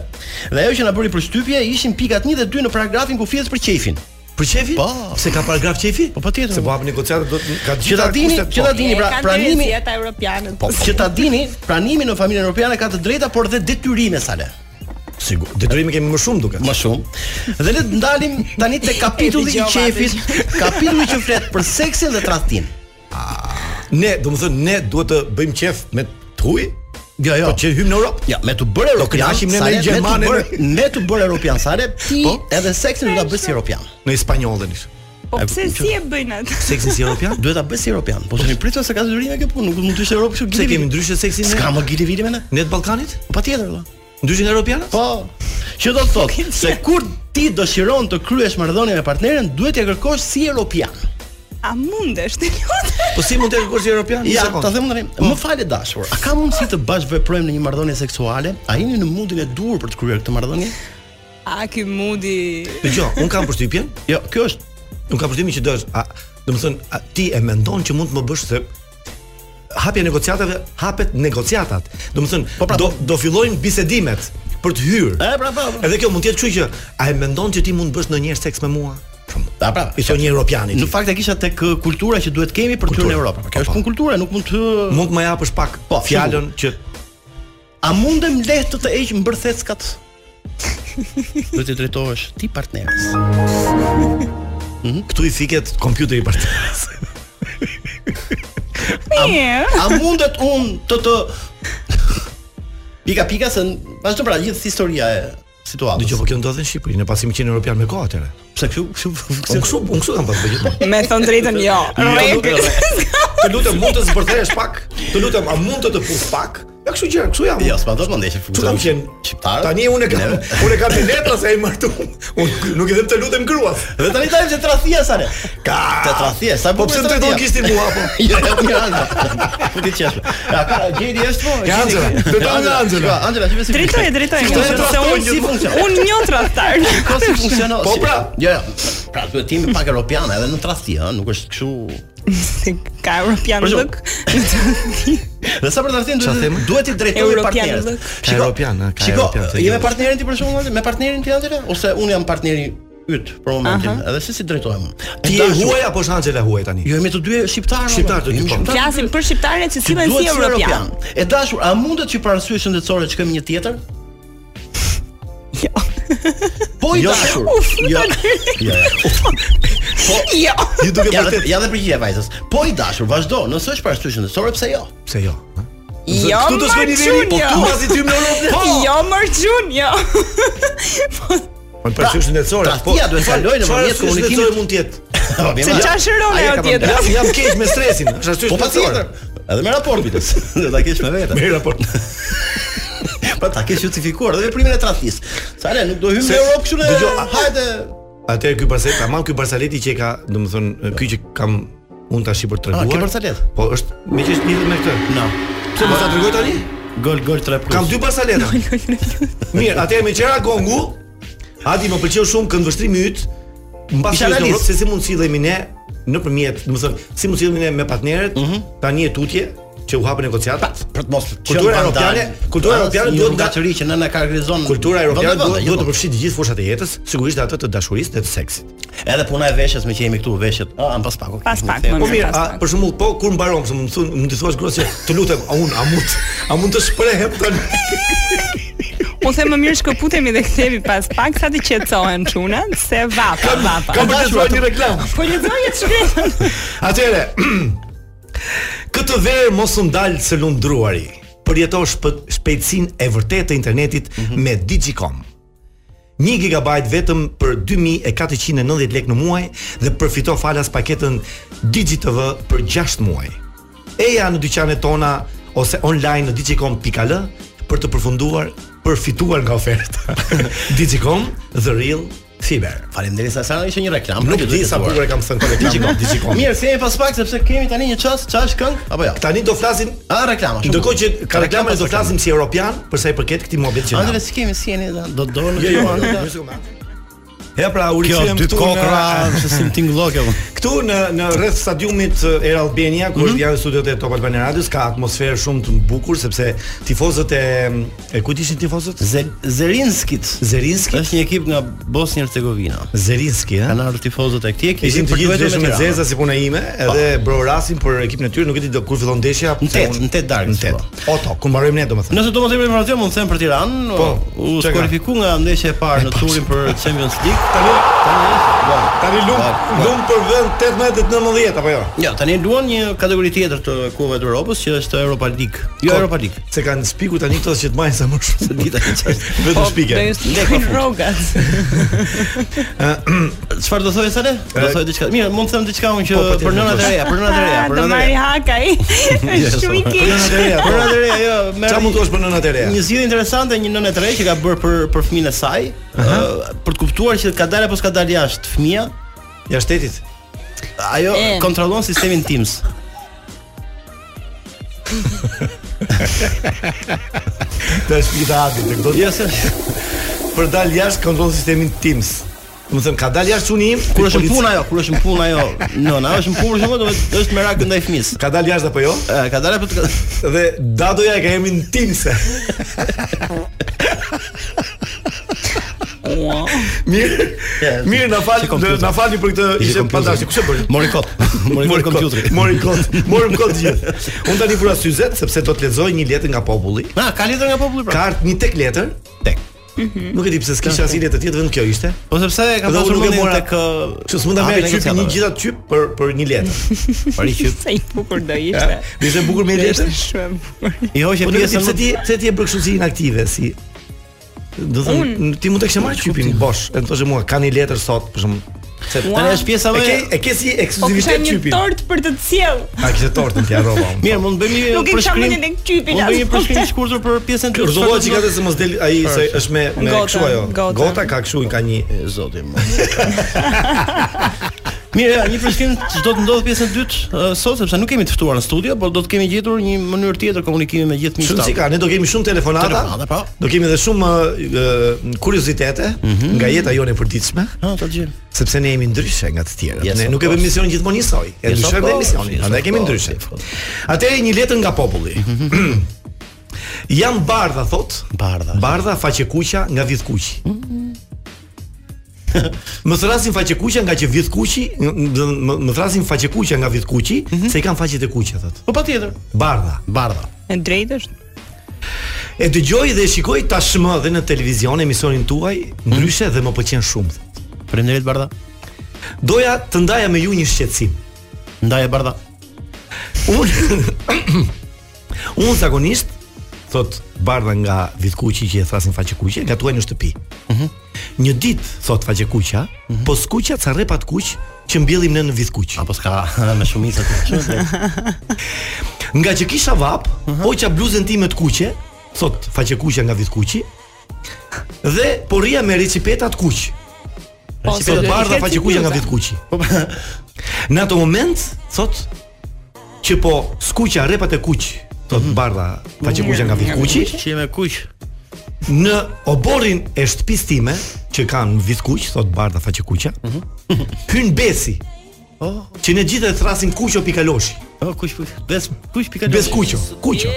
Speaker 5: Dhe ajo që na bëri përshtypje ishin pikat 1 dhe 2 në paragrafin ku flitet për qefin.
Speaker 6: Për çefi?
Speaker 5: Po.
Speaker 6: Se ka paragraf çefi?
Speaker 5: Po patjetër.
Speaker 6: Se po hap negociatat do të ka po.
Speaker 5: Që ta dini, që ta dini pra pranimi,
Speaker 9: ata europianët.
Speaker 5: po që ta dini, pranimi në familjen europiane ka të drejta por dhe detyrime sa le.
Speaker 6: Sigur. Detyrimi kemi më shumë duket.
Speaker 5: Më shumë. Dhe le të ndalim tani te kapitulli i
Speaker 9: dëgjova,
Speaker 5: qefit, kapitulli që flet për seksin dhe tradhtin.
Speaker 6: Ne, domethënë ne duhet të bëjmë qef me tuj?
Speaker 5: Jo, jo.
Speaker 6: Po që hymë në Europë?
Speaker 5: Ja, me të bërë europian,
Speaker 6: kënaqim ne
Speaker 5: sa
Speaker 6: me
Speaker 5: le,
Speaker 6: Gjermanin.
Speaker 5: me të bërë- me të bërë europian sa le, ti
Speaker 6: Po.
Speaker 5: edhe seksin do ta bësh si europian.
Speaker 6: Në spanjollën ish.
Speaker 9: Po pse si e bëjnë atë?
Speaker 6: Seksi si europian?
Speaker 5: Duhet ta bësh si europian. Po tani pritet se ka zyrime kjo punë, nuk mund të ishte Europë kështu.
Speaker 6: Pse
Speaker 5: gili vili.
Speaker 6: kemi ndryshe seksin ne?
Speaker 5: S'ka më gili vili me ne?
Speaker 6: Ne të Ballkanit?
Speaker 5: Patjetër valla.
Speaker 6: Ndryshe nga europianët?
Speaker 5: Po. Që do të thotë se kur ti dëshiron të kryesh marrëdhënie me partnerin, duhet t'ja kërkosh si europian.
Speaker 9: A mundesh të lutem?
Speaker 6: Po si mund të kërkosh si europian? Një
Speaker 5: Ja,
Speaker 6: sekondë. Po.
Speaker 5: ta them tani. Më falë dashur, a ka mundësi të bashkëveprojmë në një marrëdhënie seksuale? A jeni në mundin e duhur për të kryer këtë marrëdhënie?
Speaker 9: A ky mudi
Speaker 6: Dgjoj, un kam përshtypjen,
Speaker 5: Jo, kjo është
Speaker 6: un kam përshtypjen që do është, a, domethënë, a ti e mendon që mund të më bësh se hapja e negociatave, hapet negociatat. Domethënë,
Speaker 5: Po pra,
Speaker 6: do do fillojnë bisedimet për të hyrë.
Speaker 5: E pra pra. pra.
Speaker 6: Edhe kjo mund të jetë kështu që a e mendon që ti mund të bësh ndonjëherë seks me mua? Shumë.
Speaker 5: A pra.
Speaker 6: I thon një europianit.
Speaker 5: Në fakt e kisha tek ë, kultura që duhet kemi për të hyrë në
Speaker 6: Kultura.
Speaker 5: Europë.
Speaker 6: Po,
Speaker 5: Kjo është
Speaker 6: po.
Speaker 5: punë kulture, nuk mund të
Speaker 6: mund të më japësh pak
Speaker 5: Po,
Speaker 6: fjalën që
Speaker 5: A mundem lehtë të të heq mbërtheckat? Do të drejtohesh ti partnerës. Mhm.
Speaker 6: këtu i fiket kompjuteri partneres.
Speaker 9: mirë.
Speaker 5: A mundet unë të të pika pika se n- vazhdo pra gjithë historia e situatës.
Speaker 6: Dgjoj, po kjo ndodhen në Shqipëri, ne pasi më qenë europian me kohë atëre.
Speaker 5: pse kështu kështu
Speaker 6: Unë kështu, unë kështu kam pasur po, gjë.
Speaker 9: Me thon drejtën jo. Rrek.
Speaker 6: Të lutem mund të zbërthesh pak? Të lutem a mund të të puf pak? Ja kështu gjë, kështu jam.
Speaker 5: Jo, s'ma do të më ndeshë
Speaker 6: Kështu kam qenë
Speaker 5: shqiptar.
Speaker 6: Tani unë e kam, unë e kam me letra se ai martu. Unë nuk i them të lutem gruas.
Speaker 5: Dhe tani tajmë se trathia sa ne.
Speaker 6: Ka.
Speaker 5: Te trathia, sa
Speaker 6: Po
Speaker 5: bukur e
Speaker 6: pse të do
Speaker 5: tradhia.
Speaker 6: kishti mua po? apo?
Speaker 5: Jo, jo, mirë, Angela. Po ti qesh. Ja, ka gjeni është po. gjeni-
Speaker 6: Angela, do ta nga Angela.
Speaker 5: Shko, Angela, çfarë si?
Speaker 9: Drejtoje, drejtoje.
Speaker 5: Kështu e
Speaker 9: Se
Speaker 5: trajtojnë
Speaker 9: unë si
Speaker 5: gjithmonë.
Speaker 9: unë një tradhtar.
Speaker 5: Ko si funksionon?
Speaker 6: Po,
Speaker 5: si-
Speaker 6: pra.
Speaker 5: Jo, jo. Pra duhet të jemi pak europianë edhe në tradhti, ëh, nuk është kështu
Speaker 9: Se ka europian
Speaker 5: Për shembull.
Speaker 9: lëk.
Speaker 5: Dhe sa për të thënë
Speaker 6: Çfarë themi?
Speaker 5: duhet duhet i drejtohet
Speaker 9: Europian
Speaker 5: partnerit.
Speaker 9: lëk.
Speaker 6: Ka europian, ha, ka
Speaker 5: shiko,
Speaker 6: europian, se
Speaker 5: je me
Speaker 6: kjo-
Speaker 5: partnerin ti për shembull, me partnerin ti atëre ose unë jam partneri yt për momentin, edhe si si drejtohem.
Speaker 6: Ti je huaj apo është Angela huaj tani?
Speaker 5: Jo, jemi të dy shqiptarë.
Speaker 6: Shqiptarë të dy, po.
Speaker 9: Flasim për shqiptarët që sillen si europian.
Speaker 5: E dashur, a mundet që për arsye shëndetësore të shkojmë një tjetër?
Speaker 9: Jo.
Speaker 5: Po Po i dashur. Jo. Jo.
Speaker 10: Jo.
Speaker 11: Ju duke
Speaker 5: Ja dhe,
Speaker 11: vërtet.
Speaker 5: ja dhe përgjigje vajzës. Po i dashur, vazhdo, nëse është parashtysh ndërtore, pse jo?
Speaker 11: Pse jo? ha?
Speaker 9: Jo,
Speaker 11: Këtu të shkoj
Speaker 9: mërë
Speaker 11: niveli, po
Speaker 9: jo.
Speaker 11: tu mazi ty më lodh.
Speaker 9: Jo, mërë gjun, jo.
Speaker 6: Po për çështën ndërcore.
Speaker 5: Trahtia duhet
Speaker 6: Po,
Speaker 5: të kalojë nëpërmjet komunikimit.
Speaker 6: mund të jetë.
Speaker 5: Po, mirë,
Speaker 9: Se
Speaker 5: ma-
Speaker 9: qashëron
Speaker 5: Ajo
Speaker 9: ajo
Speaker 5: ka
Speaker 9: tjetra.
Speaker 6: Jam jam keq me stresin. Është ashtu.
Speaker 5: Po patjetër. Edhe me raport bites. Do ta kesh me vete.
Speaker 6: Me raport.
Speaker 5: Po ta kesh justifikuar edhe veprimin e tradhtisë. Sa le, nuk do hymë
Speaker 6: Se-
Speaker 5: në Europë kështu në.
Speaker 6: Dëgjoj, a-
Speaker 5: Hajde.
Speaker 6: Atë ky Barsa, tamam ky Barsaleti që e ka, domethënë, ky që kam unë tash i për
Speaker 5: Ah,
Speaker 6: treguar.
Speaker 5: ke Barsalet?
Speaker 6: Po është me që është lidhur me këtë.
Speaker 5: No.
Speaker 6: Pse mos ta tregoj tani?
Speaker 5: Gol gol 3 plus.
Speaker 6: Kam dy Barsaleta. Mirë, atëherë me qera gongu. Hadi më pëlqeu shumë këndvështrimi yt. Mbas
Speaker 5: Isha
Speaker 6: që është në
Speaker 5: realist.
Speaker 6: Europë se si mund sillemi ne nëpërmjet, domethënë, si mund sillemi ne me partnerët,
Speaker 9: Mhm.
Speaker 6: tani e tutje që u hapën negociatat.
Speaker 5: për të mos
Speaker 6: Kultura
Speaker 5: qenë
Speaker 6: europiane-
Speaker 5: vandal.
Speaker 6: kultura
Speaker 5: Ah,
Speaker 6: europiane
Speaker 5: si një
Speaker 6: duhet nga-
Speaker 5: rrugacëri që nëna karakterizon.
Speaker 6: Kultura europiane
Speaker 5: vende, jo
Speaker 6: duhet
Speaker 5: vende,
Speaker 6: duhet të
Speaker 5: gjithmonë.
Speaker 6: përfshijë të gjithë fushat e jetës, sigurisht atë të dashurisë dhe të seksit.
Speaker 5: Edhe puna e veshjes me që jemi këtu veshjet. Ah, mbas pak. okay,
Speaker 9: Pas
Speaker 5: shumë
Speaker 9: pak,
Speaker 5: thjesht.
Speaker 9: më
Speaker 6: Po
Speaker 9: Unë
Speaker 6: mirë,
Speaker 9: pas
Speaker 6: a
Speaker 9: pak.
Speaker 6: për shembull, po kur mbaron, se më thon, më të thuash gruas se të lutem, a un a mund a mund të shprehem tani?
Speaker 9: U the Po më mirë shkëputemi dhe kthehemi pas pak sa të qetësohen çunat, se vapa, vapa.
Speaker 6: Kam dashur një reklam.
Speaker 9: Po lexoje shkretën.
Speaker 6: Atëre, këtë verë mos u ndal së lundruari. Përjeto shp shpejtësinë e vërtetë të internetit me Digicom. 1 GB vetëm për 2490 lekë në muaj dhe përfito falas paketën DigiTV për 6 muaj. Eja në dyqanet tona ose online në digicom.al për të përfunduar përfituar nga oferta. Digicom, the real fiber.
Speaker 5: Faleminderit sa sana ishte një reklam.
Speaker 6: Nuk
Speaker 5: që duhet
Speaker 6: di
Speaker 5: të
Speaker 6: sa
Speaker 5: thuar.
Speaker 6: bukur e kam thënë këtë reklam. Digicom.
Speaker 5: Mirë, se jemi pas pak sepse kemi tani një çast, çast këngë apo jo?
Speaker 6: Tani do flasim
Speaker 5: A reklama shumë.
Speaker 6: Ndërkohë që ka
Speaker 5: Reklama
Speaker 6: reklama do
Speaker 5: pas
Speaker 6: flasim si europian për sa i përket këtij muhabeti që
Speaker 5: Andre
Speaker 6: na.
Speaker 5: si kemi si jeni do do do.
Speaker 6: Jo, jo, Ja pra, u
Speaker 5: Kjo
Speaker 6: rikthyem
Speaker 5: dy
Speaker 6: këtu
Speaker 5: kokra,
Speaker 6: në
Speaker 5: se si më tingëllok apo.
Speaker 6: këtu në në rreth stadiumit e, Air Albania, ku
Speaker 5: Mhm.
Speaker 6: është janë studiot e Top Albania Radios, ka atmosferë shumë të bukur sepse tifozët e e kujt ishin tifozët?
Speaker 5: Zerinskit.
Speaker 6: Zerinski.
Speaker 5: Është një ekip nga Bosnia Hercegovina.
Speaker 6: Zerinski, ha.
Speaker 5: Kanë ardhur tifozët e këtij ekipi
Speaker 6: Ishin të gjithë
Speaker 5: përgjuetur
Speaker 6: veshur me
Speaker 5: Tiranë. Po.
Speaker 6: zeza si puna ime, edhe bro rasin për ekipin e tyre, nuk e di do kur fillon ndeshja.
Speaker 5: Në
Speaker 6: pse
Speaker 5: tet,
Speaker 6: unë-
Speaker 5: në tet darkë,
Speaker 6: Në
Speaker 5: po.
Speaker 6: 8. Oto, ku mbarojmë ne domethënë.
Speaker 5: Nëse do të më themi informacion, mund të them për Tiranë,
Speaker 6: Po,
Speaker 5: u
Speaker 6: çka ka?
Speaker 5: skualifiku nga ndeshja e parë në turin për Champions League.
Speaker 6: Tani
Speaker 5: Tani është, do.
Speaker 6: tani lum
Speaker 5: Po, po.
Speaker 6: lum për vend 18-19 apo jo?
Speaker 5: Ja, tani luan një kategori tjetër të Kupave të Europës, që është Europa League. Jo
Speaker 6: Ko-
Speaker 5: Europa League.
Speaker 6: Po, Se kanë spiku tani këto që të majnë sa më shumë.
Speaker 5: Dita që është.
Speaker 6: Vetëm Po, shpike.
Speaker 9: Do ju stikojnë rrogat.
Speaker 5: Çfarë do thojë Sale? Do thojë diçka. Mirë, mund të them diçka unë që
Speaker 6: Po, po, tjetër,
Speaker 5: për nënat e reja, për nënat e reja,
Speaker 9: Ah,
Speaker 5: për
Speaker 9: Do
Speaker 5: nënat e
Speaker 9: marri
Speaker 5: reja.
Speaker 9: hakaj. Është shumë i
Speaker 6: Për nënat e po.
Speaker 9: keq.
Speaker 6: reja.
Speaker 5: Për nënat e reja, jo, merr.
Speaker 6: Çfarë mund të thuash për nënat e reja?
Speaker 5: Një zgjidhje interesante një nënë e tre që ka bërë për për fëmin e saj, ë, për të kuptuar që ka dalë apo s'ka dalë jashtë fëmia,
Speaker 6: Ja shtetit.
Speaker 5: ajo
Speaker 9: E.
Speaker 5: kontrollon sistemin Teams.
Speaker 6: Të shpita hadi të këto.
Speaker 5: Jo se
Speaker 6: Për dal jashtë kontrollon sistemin Teams. Do të thënë ka dal jashtë çuni im.
Speaker 5: kur është në
Speaker 6: polici-
Speaker 5: punë ajo, kur është në punë ajo nëna, është në punë për shembull, do të thotë është merak ndaj fëmisë.
Speaker 6: Ka dal jashtë apo jo?
Speaker 5: Ë, Ka dalë apo të
Speaker 6: Dhe dadoja e ka emrin Teams. Mirë.
Speaker 5: Ja,
Speaker 6: Mirë, na fal,
Speaker 5: si kompjuter.
Speaker 6: na falni për këtë ishte
Speaker 5: kompjuter.
Speaker 6: fantastik. Kush e bëri?
Speaker 5: mori kot. Mori kot kompjuteri.
Speaker 6: Mori kot, mori kot gjithë. Unë tani vura syzet sepse do të lexoj një letër nga populli.
Speaker 5: Na, ka letër nga populli pra.
Speaker 6: Ka ardhur një tek letër, tek.
Speaker 9: Mhm.
Speaker 6: Nuk e di pse s'kisha asnjë letër tjetër vetëm kjo ishte.
Speaker 5: Po sepse ka
Speaker 6: Edhe
Speaker 5: pasur
Speaker 6: unë nuk e
Speaker 5: mendin
Speaker 6: mora.
Speaker 5: tek
Speaker 6: Kështu s'mund ta
Speaker 5: Ah,
Speaker 6: merr qypi një gjitha qyp për për një letër.
Speaker 5: pari qyp.
Speaker 9: Sa i bukur do ishte.
Speaker 6: Do ishte bukur me një
Speaker 9: Ishte
Speaker 6: letër.
Speaker 9: shumë e bukur.
Speaker 5: I hoqe
Speaker 6: Po nuk e di
Speaker 5: pjesën.
Speaker 6: pse ti pse ti e bërë kështu si inaktive si Do thënë, n- ti mund të kishe marrë qypin bosh, e më thoshe mua, ka një letër sot, për shumë. Se
Speaker 5: Tani është pjesa
Speaker 6: e
Speaker 5: më
Speaker 6: ke e ke si
Speaker 9: Po kisha
Speaker 6: ekskluzivitet
Speaker 9: një
Speaker 6: qypin.
Speaker 9: tort për të cilë.
Speaker 6: A kishe tortën ti harrova. unë.
Speaker 5: Mirë, mund të bëjmë një
Speaker 9: Nuk e kisha
Speaker 5: përshkrim.
Speaker 9: mendin tek qypi
Speaker 5: Mund të bëjmë një
Speaker 9: as.
Speaker 5: përshkrim të shkurtër për pjesën
Speaker 6: Kjo
Speaker 5: tjetër.
Speaker 6: Rrëzohet që ka të se mos del ai se është me me
Speaker 9: Gota,
Speaker 6: kështu ajo.
Speaker 9: gota.
Speaker 6: Gota ka kështu ka një
Speaker 5: Zoti më. Mirë, ja, një përshkrim që do të ndodhë pjesën e dytë ë, sot sepse nuk kemi të ftuar në studio, por do të kemi gjetur një mënyrë tjetër komunikimi me gjithë
Speaker 6: Shumë si
Speaker 5: miqtë.
Speaker 6: ka, ne do kemi shumë telefonata.
Speaker 5: Telefonata, po.
Speaker 6: Do kemi edhe shumë ë, ë, kuriozitete
Speaker 5: Mhm.
Speaker 6: nga jeta jone e përditshme,
Speaker 5: Ha, të gjë.
Speaker 6: sepse ne jemi ndryshe nga të tjerët.
Speaker 5: Yes,
Speaker 6: ne
Speaker 5: of
Speaker 6: nuk e bëjmë
Speaker 5: course.
Speaker 6: mision gjithmonë njësoj. E
Speaker 5: Yes, of
Speaker 6: ndryshojmë dhe
Speaker 5: course.
Speaker 6: misionin,
Speaker 5: Yes,
Speaker 6: prandaj
Speaker 5: of
Speaker 6: kemi
Speaker 5: course. Mhm.
Speaker 6: ndryshe. Atëherë një letër nga populli. Jam bardha thot.
Speaker 5: Bardha. Mhm.
Speaker 6: Bardha faqe kuqa nga vidh kuqi. Më thrasin faqe kuqa nga që vidh kuqi, m- m- më- më thrasin faqe kuqa nga vidh kuqi,
Speaker 5: Mhm.
Speaker 6: se i kanë faqet e kuqe thot.
Speaker 5: Po patjetër.
Speaker 6: Bardha.
Speaker 5: Bardha.
Speaker 9: E drejtë është.
Speaker 6: E dëgjoj dhe e shikoj tashmë dhe në televizion emisionin tuaj,
Speaker 5: Mhm.
Speaker 6: ndryshe dhe më pëlqen shumë. thotë.
Speaker 5: Faleminderit Bardha.
Speaker 6: Doja të ndaja me ju një shqetësim.
Speaker 5: Ndaje Bardha.
Speaker 6: Unë Unë zakonisht thot bardha nga vitkuqi që e thrasin faqekuqe, gatuaj në shtëpi. Një ditë thot faqekuqja, po skuqja ca rrepat kuq që mbjellim ne në vitkuq.
Speaker 5: Apo s'ka me shumicë aty.
Speaker 6: Nga që kisha vap, hoqa bluzën time të kuqe, thot faqekuqja nga vitkuqi, dhe po rria me recipeta të kuq.
Speaker 9: Po,
Speaker 6: Si thot bardha faqekuqja nga vitkuqi.
Speaker 5: Po,
Speaker 6: Në ato moment thot që po skuqja rrepat e kuq, thot
Speaker 5: Mhm.
Speaker 6: bardha faqekuqja nga vitkuqi,
Speaker 5: Që jemi kuq.
Speaker 6: Në oborin e shtëpisë time që kanë vitkuq, thot Barda Faqekuqa,
Speaker 5: Mhm.
Speaker 6: hyn Besi.
Speaker 5: Oh.
Speaker 6: Që ne gjithë e thrasim kuqo pikaloshi.
Speaker 5: Oh, kuq kuq. Bes kuq pika.
Speaker 6: Bes kuqo, kuqo.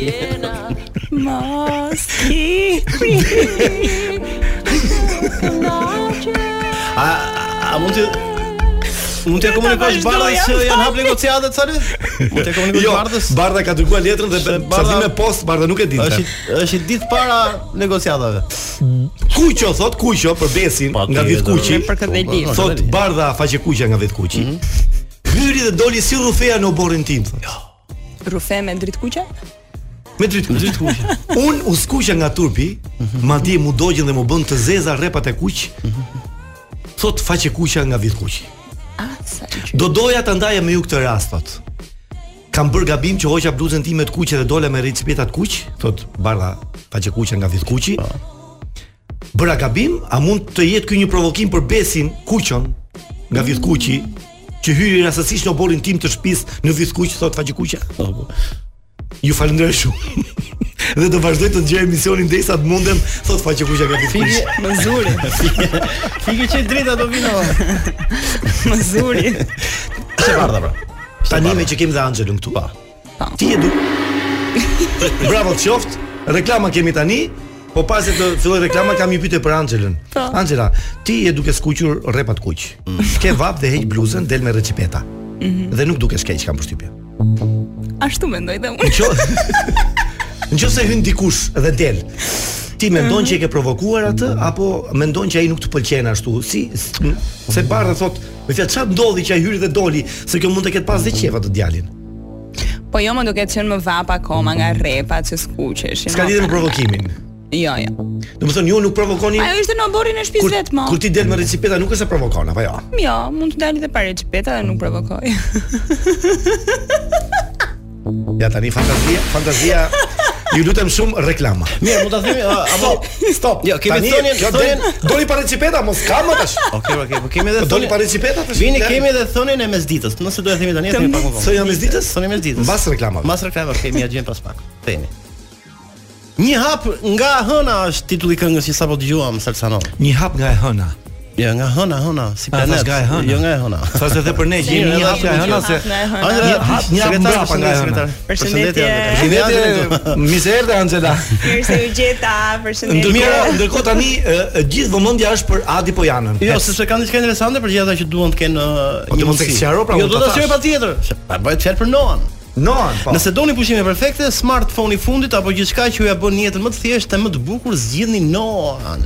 Speaker 9: Mos ki.
Speaker 5: A a mund të Mund të komunikosh
Speaker 9: vazhdoj,
Speaker 5: Bardha
Speaker 9: jam
Speaker 5: që janë hap negociatet sa Mund të komunikosh
Speaker 6: Jo,
Speaker 5: Bardhës.
Speaker 6: Barda ka dërguar letrën dhe
Speaker 5: Se
Speaker 6: sa
Speaker 5: Bardha-
Speaker 6: ti me post Barda nuk e dinte.
Speaker 5: Është është ditë para negociatave.
Speaker 6: Kuqo thot kuqo për Besin
Speaker 5: Pa,
Speaker 6: nga
Speaker 5: tjetër.
Speaker 6: vitkuqi.
Speaker 9: Me për këtë lidh.
Speaker 6: Thot Barda Faqekuqa nga vitkuqi. Hyri dhe doli si rrufeja në oborin tim. Thot.
Speaker 9: Rufe me dritë kuqe?
Speaker 6: Me dritë kuqe. Mhm. Un u skuqa nga turpi, madje mu dogjën dhe mu bën të zeza rrepat e kuq. Thot faqe kuqa nga vit kuqi.
Speaker 9: Ah, sa i qysh.
Speaker 6: Do doja ta ndaja me ju këtë rast thot. Kam bër gabim që hoqa bluzën time të kuqe dhe dola me recipeta të kuq, thot Bardha faqe kuqa nga vit kuqi. Bëra gabim, a mund të jetë ky një provokim për besin kuqon nga vit kuqi? që hyri rastësisht në oborin tim të shtëpisë në Vizkuq, thot faqe kuqa. Ju falenderoj shumë. dhe do vazhdoj të ngjej emisionin derisa të mundem, thot faqe kuqja nga Vizkuq.
Speaker 9: Më zuri,
Speaker 5: Fikë që drita do vinë.
Speaker 9: më zuri.
Speaker 5: Çe Bardha pra.
Speaker 6: Tani me që kemi dhe Anxhelën këtu. Pa. Ti e du. Bravo të qoftë. Reklama kemi tani. Po pas se të filloj reklama kam një pyetje për Anxhelën. Anxhela, ti je duke skuqur rrepat kuq. Ke vap dhe heq bluzën, del me recipeta. Dhe nuk dukesh keq kam përshtypjen.
Speaker 9: Ashtu mendoj dhe unë.
Speaker 6: Qo... Nëse hyn dikush dhe del, ti mendon që e ke provokuar atë apo mendon që ai nuk të pëlqen ashtu? Si s- se Bardha thot, me fjalë çfarë ndodhi që ai hyri dhe doli, se kjo mund të ketë pas dhe qefa të djalin.
Speaker 9: Po jo më duke qenë më vapa akoma nga repa që skuqeshin.
Speaker 6: S'ka lidhje me provokimin.
Speaker 9: Jo, jo.
Speaker 6: Domethënë ju nuk provokoni
Speaker 9: Ajo ishte në oborin e
Speaker 6: kur,
Speaker 9: shtëpisë vetë më.
Speaker 6: kur ti del me recipeta nuk është se provokon apo jo.
Speaker 9: Jo, mund të dali dhe pare qipeta dhe nuk provokoj.
Speaker 6: Ja tani fantazia, fantazia. Ju lutem shumë reklama.
Speaker 5: Mirë, mund ta themi ë, apo
Speaker 6: Stop.
Speaker 5: Jo, kemi
Speaker 6: Tani,
Speaker 5: thënien,
Speaker 6: kjo
Speaker 5: thënien.
Speaker 6: del- Doli pa recipeta, mos kam më tash.
Speaker 5: Okej, okej, po kemi edhe
Speaker 6: Doli
Speaker 5: thonien-
Speaker 6: pa recipeta tash.
Speaker 5: Vini kemi edhe thonien e mesditës. Nëse do e themi tani, e themi pak më vonë.
Speaker 6: Thonë jam mesditës?
Speaker 5: Thonë jam mesditës.
Speaker 6: Mbas reklamave.
Speaker 5: Mbas reklamave, okay, mi agjen pas pak. Themi. Një hap nga hëna është titulli i këngës që sapo dëgjuam Salsanon.
Speaker 6: Një hap nga e hëna.
Speaker 5: Jo, nga hëna, hëna, si
Speaker 6: A,
Speaker 5: planet.
Speaker 6: thash Ah, nga e hëna.
Speaker 5: Jo, nga e hëna.
Speaker 6: Thasë edhe për ne që jemi
Speaker 5: Mirë,
Speaker 6: një
Speaker 5: edhe
Speaker 6: hap nga e
Speaker 5: ashtu
Speaker 6: hëna
Speaker 5: që-
Speaker 6: se
Speaker 9: Nga e hëna.
Speaker 5: Andra,
Speaker 6: Një hap, një hap
Speaker 5: sekretar,
Speaker 6: mbrapa nga e hëna.
Speaker 5: sekretar.
Speaker 9: Përshëndetje.
Speaker 6: Përshëndetje, Miserde Angela.
Speaker 9: Mirë se u gjeta, përshëndetje.
Speaker 6: Ndërkohë, ndërkohë tani e, e, gjithë vëmendja është për Adi Pojanën.
Speaker 5: Jo, sepse kanë diçka interesante për gjithë ata që duan të kenë uh,
Speaker 6: Po,
Speaker 5: një
Speaker 6: ti mos e
Speaker 5: mundësi.
Speaker 6: sqaro, pra,
Speaker 5: Jo,
Speaker 6: unë
Speaker 5: do
Speaker 6: ta
Speaker 5: ta
Speaker 6: thash.
Speaker 5: sqaroj patjetër. Se Pa bëhet fjalë për Noan.
Speaker 6: Noan, po.
Speaker 5: Nëse doni pushime perfekte, smartphone i fundit apo gjithçka që ju ja bën jetën më të thjeshtë dhe më të bukur, zgjidhni Noan.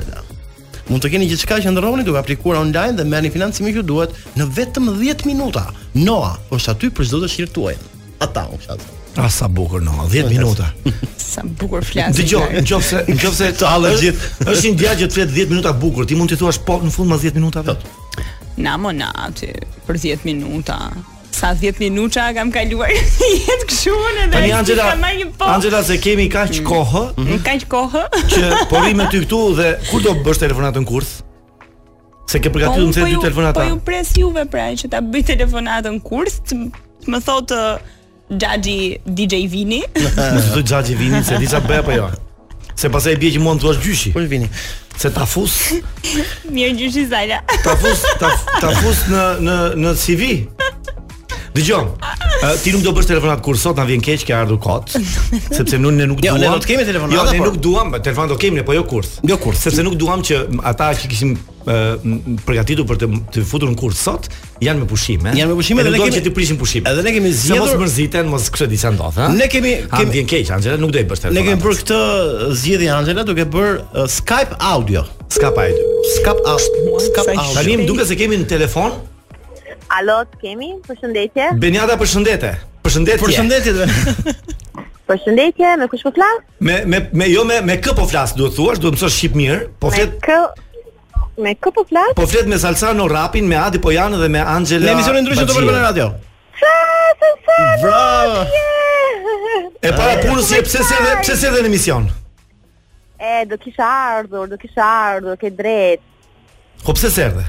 Speaker 5: Mund të keni gjithçka që ndërroni duke aplikuar online dhe merrni financimin që duhet në vetëm 10 minuta. Noa është aty për çdo dëshirë tuaj. Ata u fshat.
Speaker 6: Ah, sa bukur Noan, 10 minuta.
Speaker 9: Sa bukur flasë.
Speaker 6: Dëgjoj, nëse nëse të hallë gjithë. Është një djalë që të flet 10 minuta bukur, ti mund t'i thuash po në fund mas 10 minutave.
Speaker 9: Na mo na, ti, për 10 minuta. Sa 10 minuta kam kaluar jetë këshu në dhe
Speaker 6: Tani Angela,
Speaker 9: kam marrë një po.
Speaker 6: Angela se kemi kaq kohë
Speaker 9: Në kaq kohë.
Speaker 6: që po rri me ty këtu dhe kur do bësh telefonatën kurth? Se ke përgatitur
Speaker 9: unë
Speaker 6: të dy
Speaker 9: ju-
Speaker 6: telefonata.
Speaker 9: Po ju pres juve pra që ta bëj telefonatën kurth, të m- të më thotë uh, Xhaxhi DJ Vini.
Speaker 6: Mos të xhaxhi vini se di sa bëj apo jo. Se pastaj bie që mund të thuash gjyshi.
Speaker 5: Kur Po, vini?
Speaker 6: Se ta fus,
Speaker 9: Mirë gjyshi Zala.
Speaker 6: ta fus, ta, ta fus në në në CV. Dëgjom. Ë, Ti nuk do bësh telefonat kur sot na vjen keq ke ardhur kot, sepse nuk ne nuk
Speaker 5: Jo,
Speaker 6: duam.
Speaker 5: ne do të kemi telefonata,
Speaker 6: Jo, ne
Speaker 5: por-
Speaker 6: nuk duam, po, telefon do kemi ne, po jo kurs.
Speaker 5: Jo kurth.
Speaker 6: sepse nuk duam që ata që kishim ë, m- m- përgatitur për të të futur në kurs sot janë me pushime.
Speaker 5: Janë me pushime
Speaker 6: Edhe
Speaker 5: dhe ne
Speaker 6: duam
Speaker 5: kemi-
Speaker 6: që të prishin pushime.
Speaker 5: edhe ne kemi
Speaker 6: Se mos
Speaker 5: zgjedhur-
Speaker 6: mërziten, mos kështu diçka ndodh, ha?
Speaker 5: Ne kemi-
Speaker 6: Ha,
Speaker 5: kemi-
Speaker 6: më vjen keq, Angela, nuk do i bësh telefonat.
Speaker 5: Ne kemi për këtë zgjedhje Angela duke bër uh, Skype audio.
Speaker 6: ska pa e dy.
Speaker 5: Skype
Speaker 6: Ah,
Speaker 5: audio. Skype
Speaker 6: Tani
Speaker 5: audio.
Speaker 6: më duket se kemi në telefon.
Speaker 12: Alo, të kemi? Përshëndetje.
Speaker 6: Benjada, përshëndete. Përshëndetje.
Speaker 5: Përshëndetje. dhe-
Speaker 12: Përshëndetje, me kush po flas?
Speaker 6: Me me me jo me me kë po flas, duhet thuash, duhet mësosh shqip mirë, po
Speaker 12: Me
Speaker 6: flet
Speaker 12: kë me kë po flas?
Speaker 6: Po flet me Salsano Rapin, me Adi Pojanë dhe me Angela.
Speaker 5: Në emisionin ndryshe do
Speaker 6: Bagjia.
Speaker 5: bëjmë në radio.
Speaker 12: Sa sa sa.
Speaker 5: Bravo.
Speaker 6: E para punës je pse se dhe pse se dhe në emision.
Speaker 12: E do kisha ardhur, do kisha ardhur, ke drejt.
Speaker 6: Po pse se erdhe?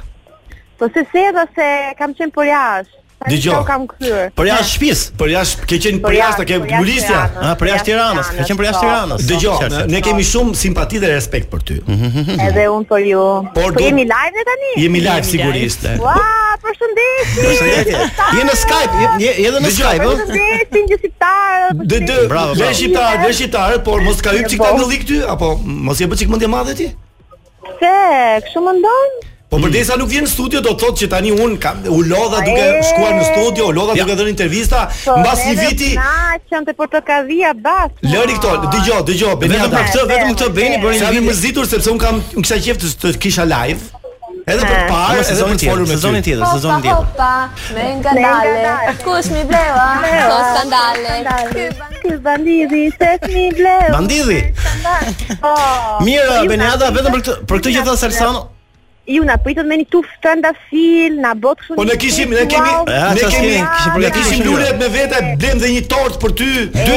Speaker 12: Po se se do se kam qenë për jashtë. Tani
Speaker 6: Dëgjoj.
Speaker 12: sa u Kam kthyer.
Speaker 5: Për jashtë shtëpis.
Speaker 6: Për jashtë ke qenë
Speaker 12: Për
Speaker 6: për jashtë, ke
Speaker 12: jashtë, për jashtë
Speaker 6: gulistja.
Speaker 12: Tiranës.
Speaker 5: Ah, për jashtë Tiranës. Ka qenë për jashtë
Speaker 12: Po.
Speaker 5: Tiranës.
Speaker 6: Dëgjoj,
Speaker 5: Qartë, qartë.
Speaker 6: ne kemi shumë simpati dhe respekt për ty.
Speaker 5: Mhm.
Speaker 12: Edhe unë për ju.
Speaker 6: Por
Speaker 12: po
Speaker 6: do-
Speaker 12: jemi live dhe tani?
Speaker 6: Jemi live sigurisht.
Speaker 12: Ua, përshëndetje.
Speaker 5: Përshëndetje. Je në Skype, je- je je edhe në Skype, ëh?
Speaker 12: Përshëndetje gjësitarë.
Speaker 6: Dë dë,
Speaker 5: Bravo,
Speaker 6: dhe
Speaker 5: bravo.
Speaker 6: shqiptar, dhe shqiptar, por mos ka hyp çik
Speaker 12: Po.
Speaker 6: tani ty apo mos je bë çik mendje madhe ti?
Speaker 12: Se, kështu mendon?
Speaker 6: Po
Speaker 5: Mm.
Speaker 6: përdesa nuk vjen në studio do të thotë që tani un kam u lodha duke
Speaker 12: E.
Speaker 6: shkuar në studio, u lodha duke dhënë intervista, mbas një viti
Speaker 12: Po, Na, qënë të portokavia bas.
Speaker 6: Lëri këto, dëgjoj, dëgjoj,
Speaker 5: Vetëm
Speaker 6: Benjada.
Speaker 5: për këtë, vetëm këtë bëni për
Speaker 6: Sa
Speaker 5: një
Speaker 6: më
Speaker 5: video.
Speaker 6: mërzitur sepse un kam më kisha qejf të, të kisha live. Edhe për të parë,
Speaker 5: Në
Speaker 6: edhe për
Speaker 5: sezonin
Speaker 6: të folur
Speaker 5: tjetër,
Speaker 6: me
Speaker 5: sezonin
Speaker 6: ty.
Speaker 5: tjetër, sezonin tjetër.
Speaker 3: me
Speaker 12: ngandale.
Speaker 3: Kush mi bleva?
Speaker 12: Bleva.
Speaker 3: Ka skandale.
Speaker 12: Ky bandidi se fmi bleu.
Speaker 5: Bandidhi.
Speaker 12: Po.
Speaker 5: Mirë,
Speaker 12: Ju na
Speaker 5: Benjada,
Speaker 12: pritët-
Speaker 5: vetëm për këtë, për këtë që tha Salsano.
Speaker 12: Ju na pritët me një tuf trandafil, na bot kështu.
Speaker 6: Po ne
Speaker 12: një
Speaker 6: kishim,
Speaker 12: tuf,
Speaker 6: ne kemi,
Speaker 12: wow.
Speaker 5: Ja,
Speaker 6: ne
Speaker 5: çfarë
Speaker 6: kemi,
Speaker 5: s'kemi, kishim
Speaker 6: ne
Speaker 5: përgatitur
Speaker 6: kishim
Speaker 5: shumë lule.
Speaker 6: lulet me vete, blem dhe një tort për ty. Dy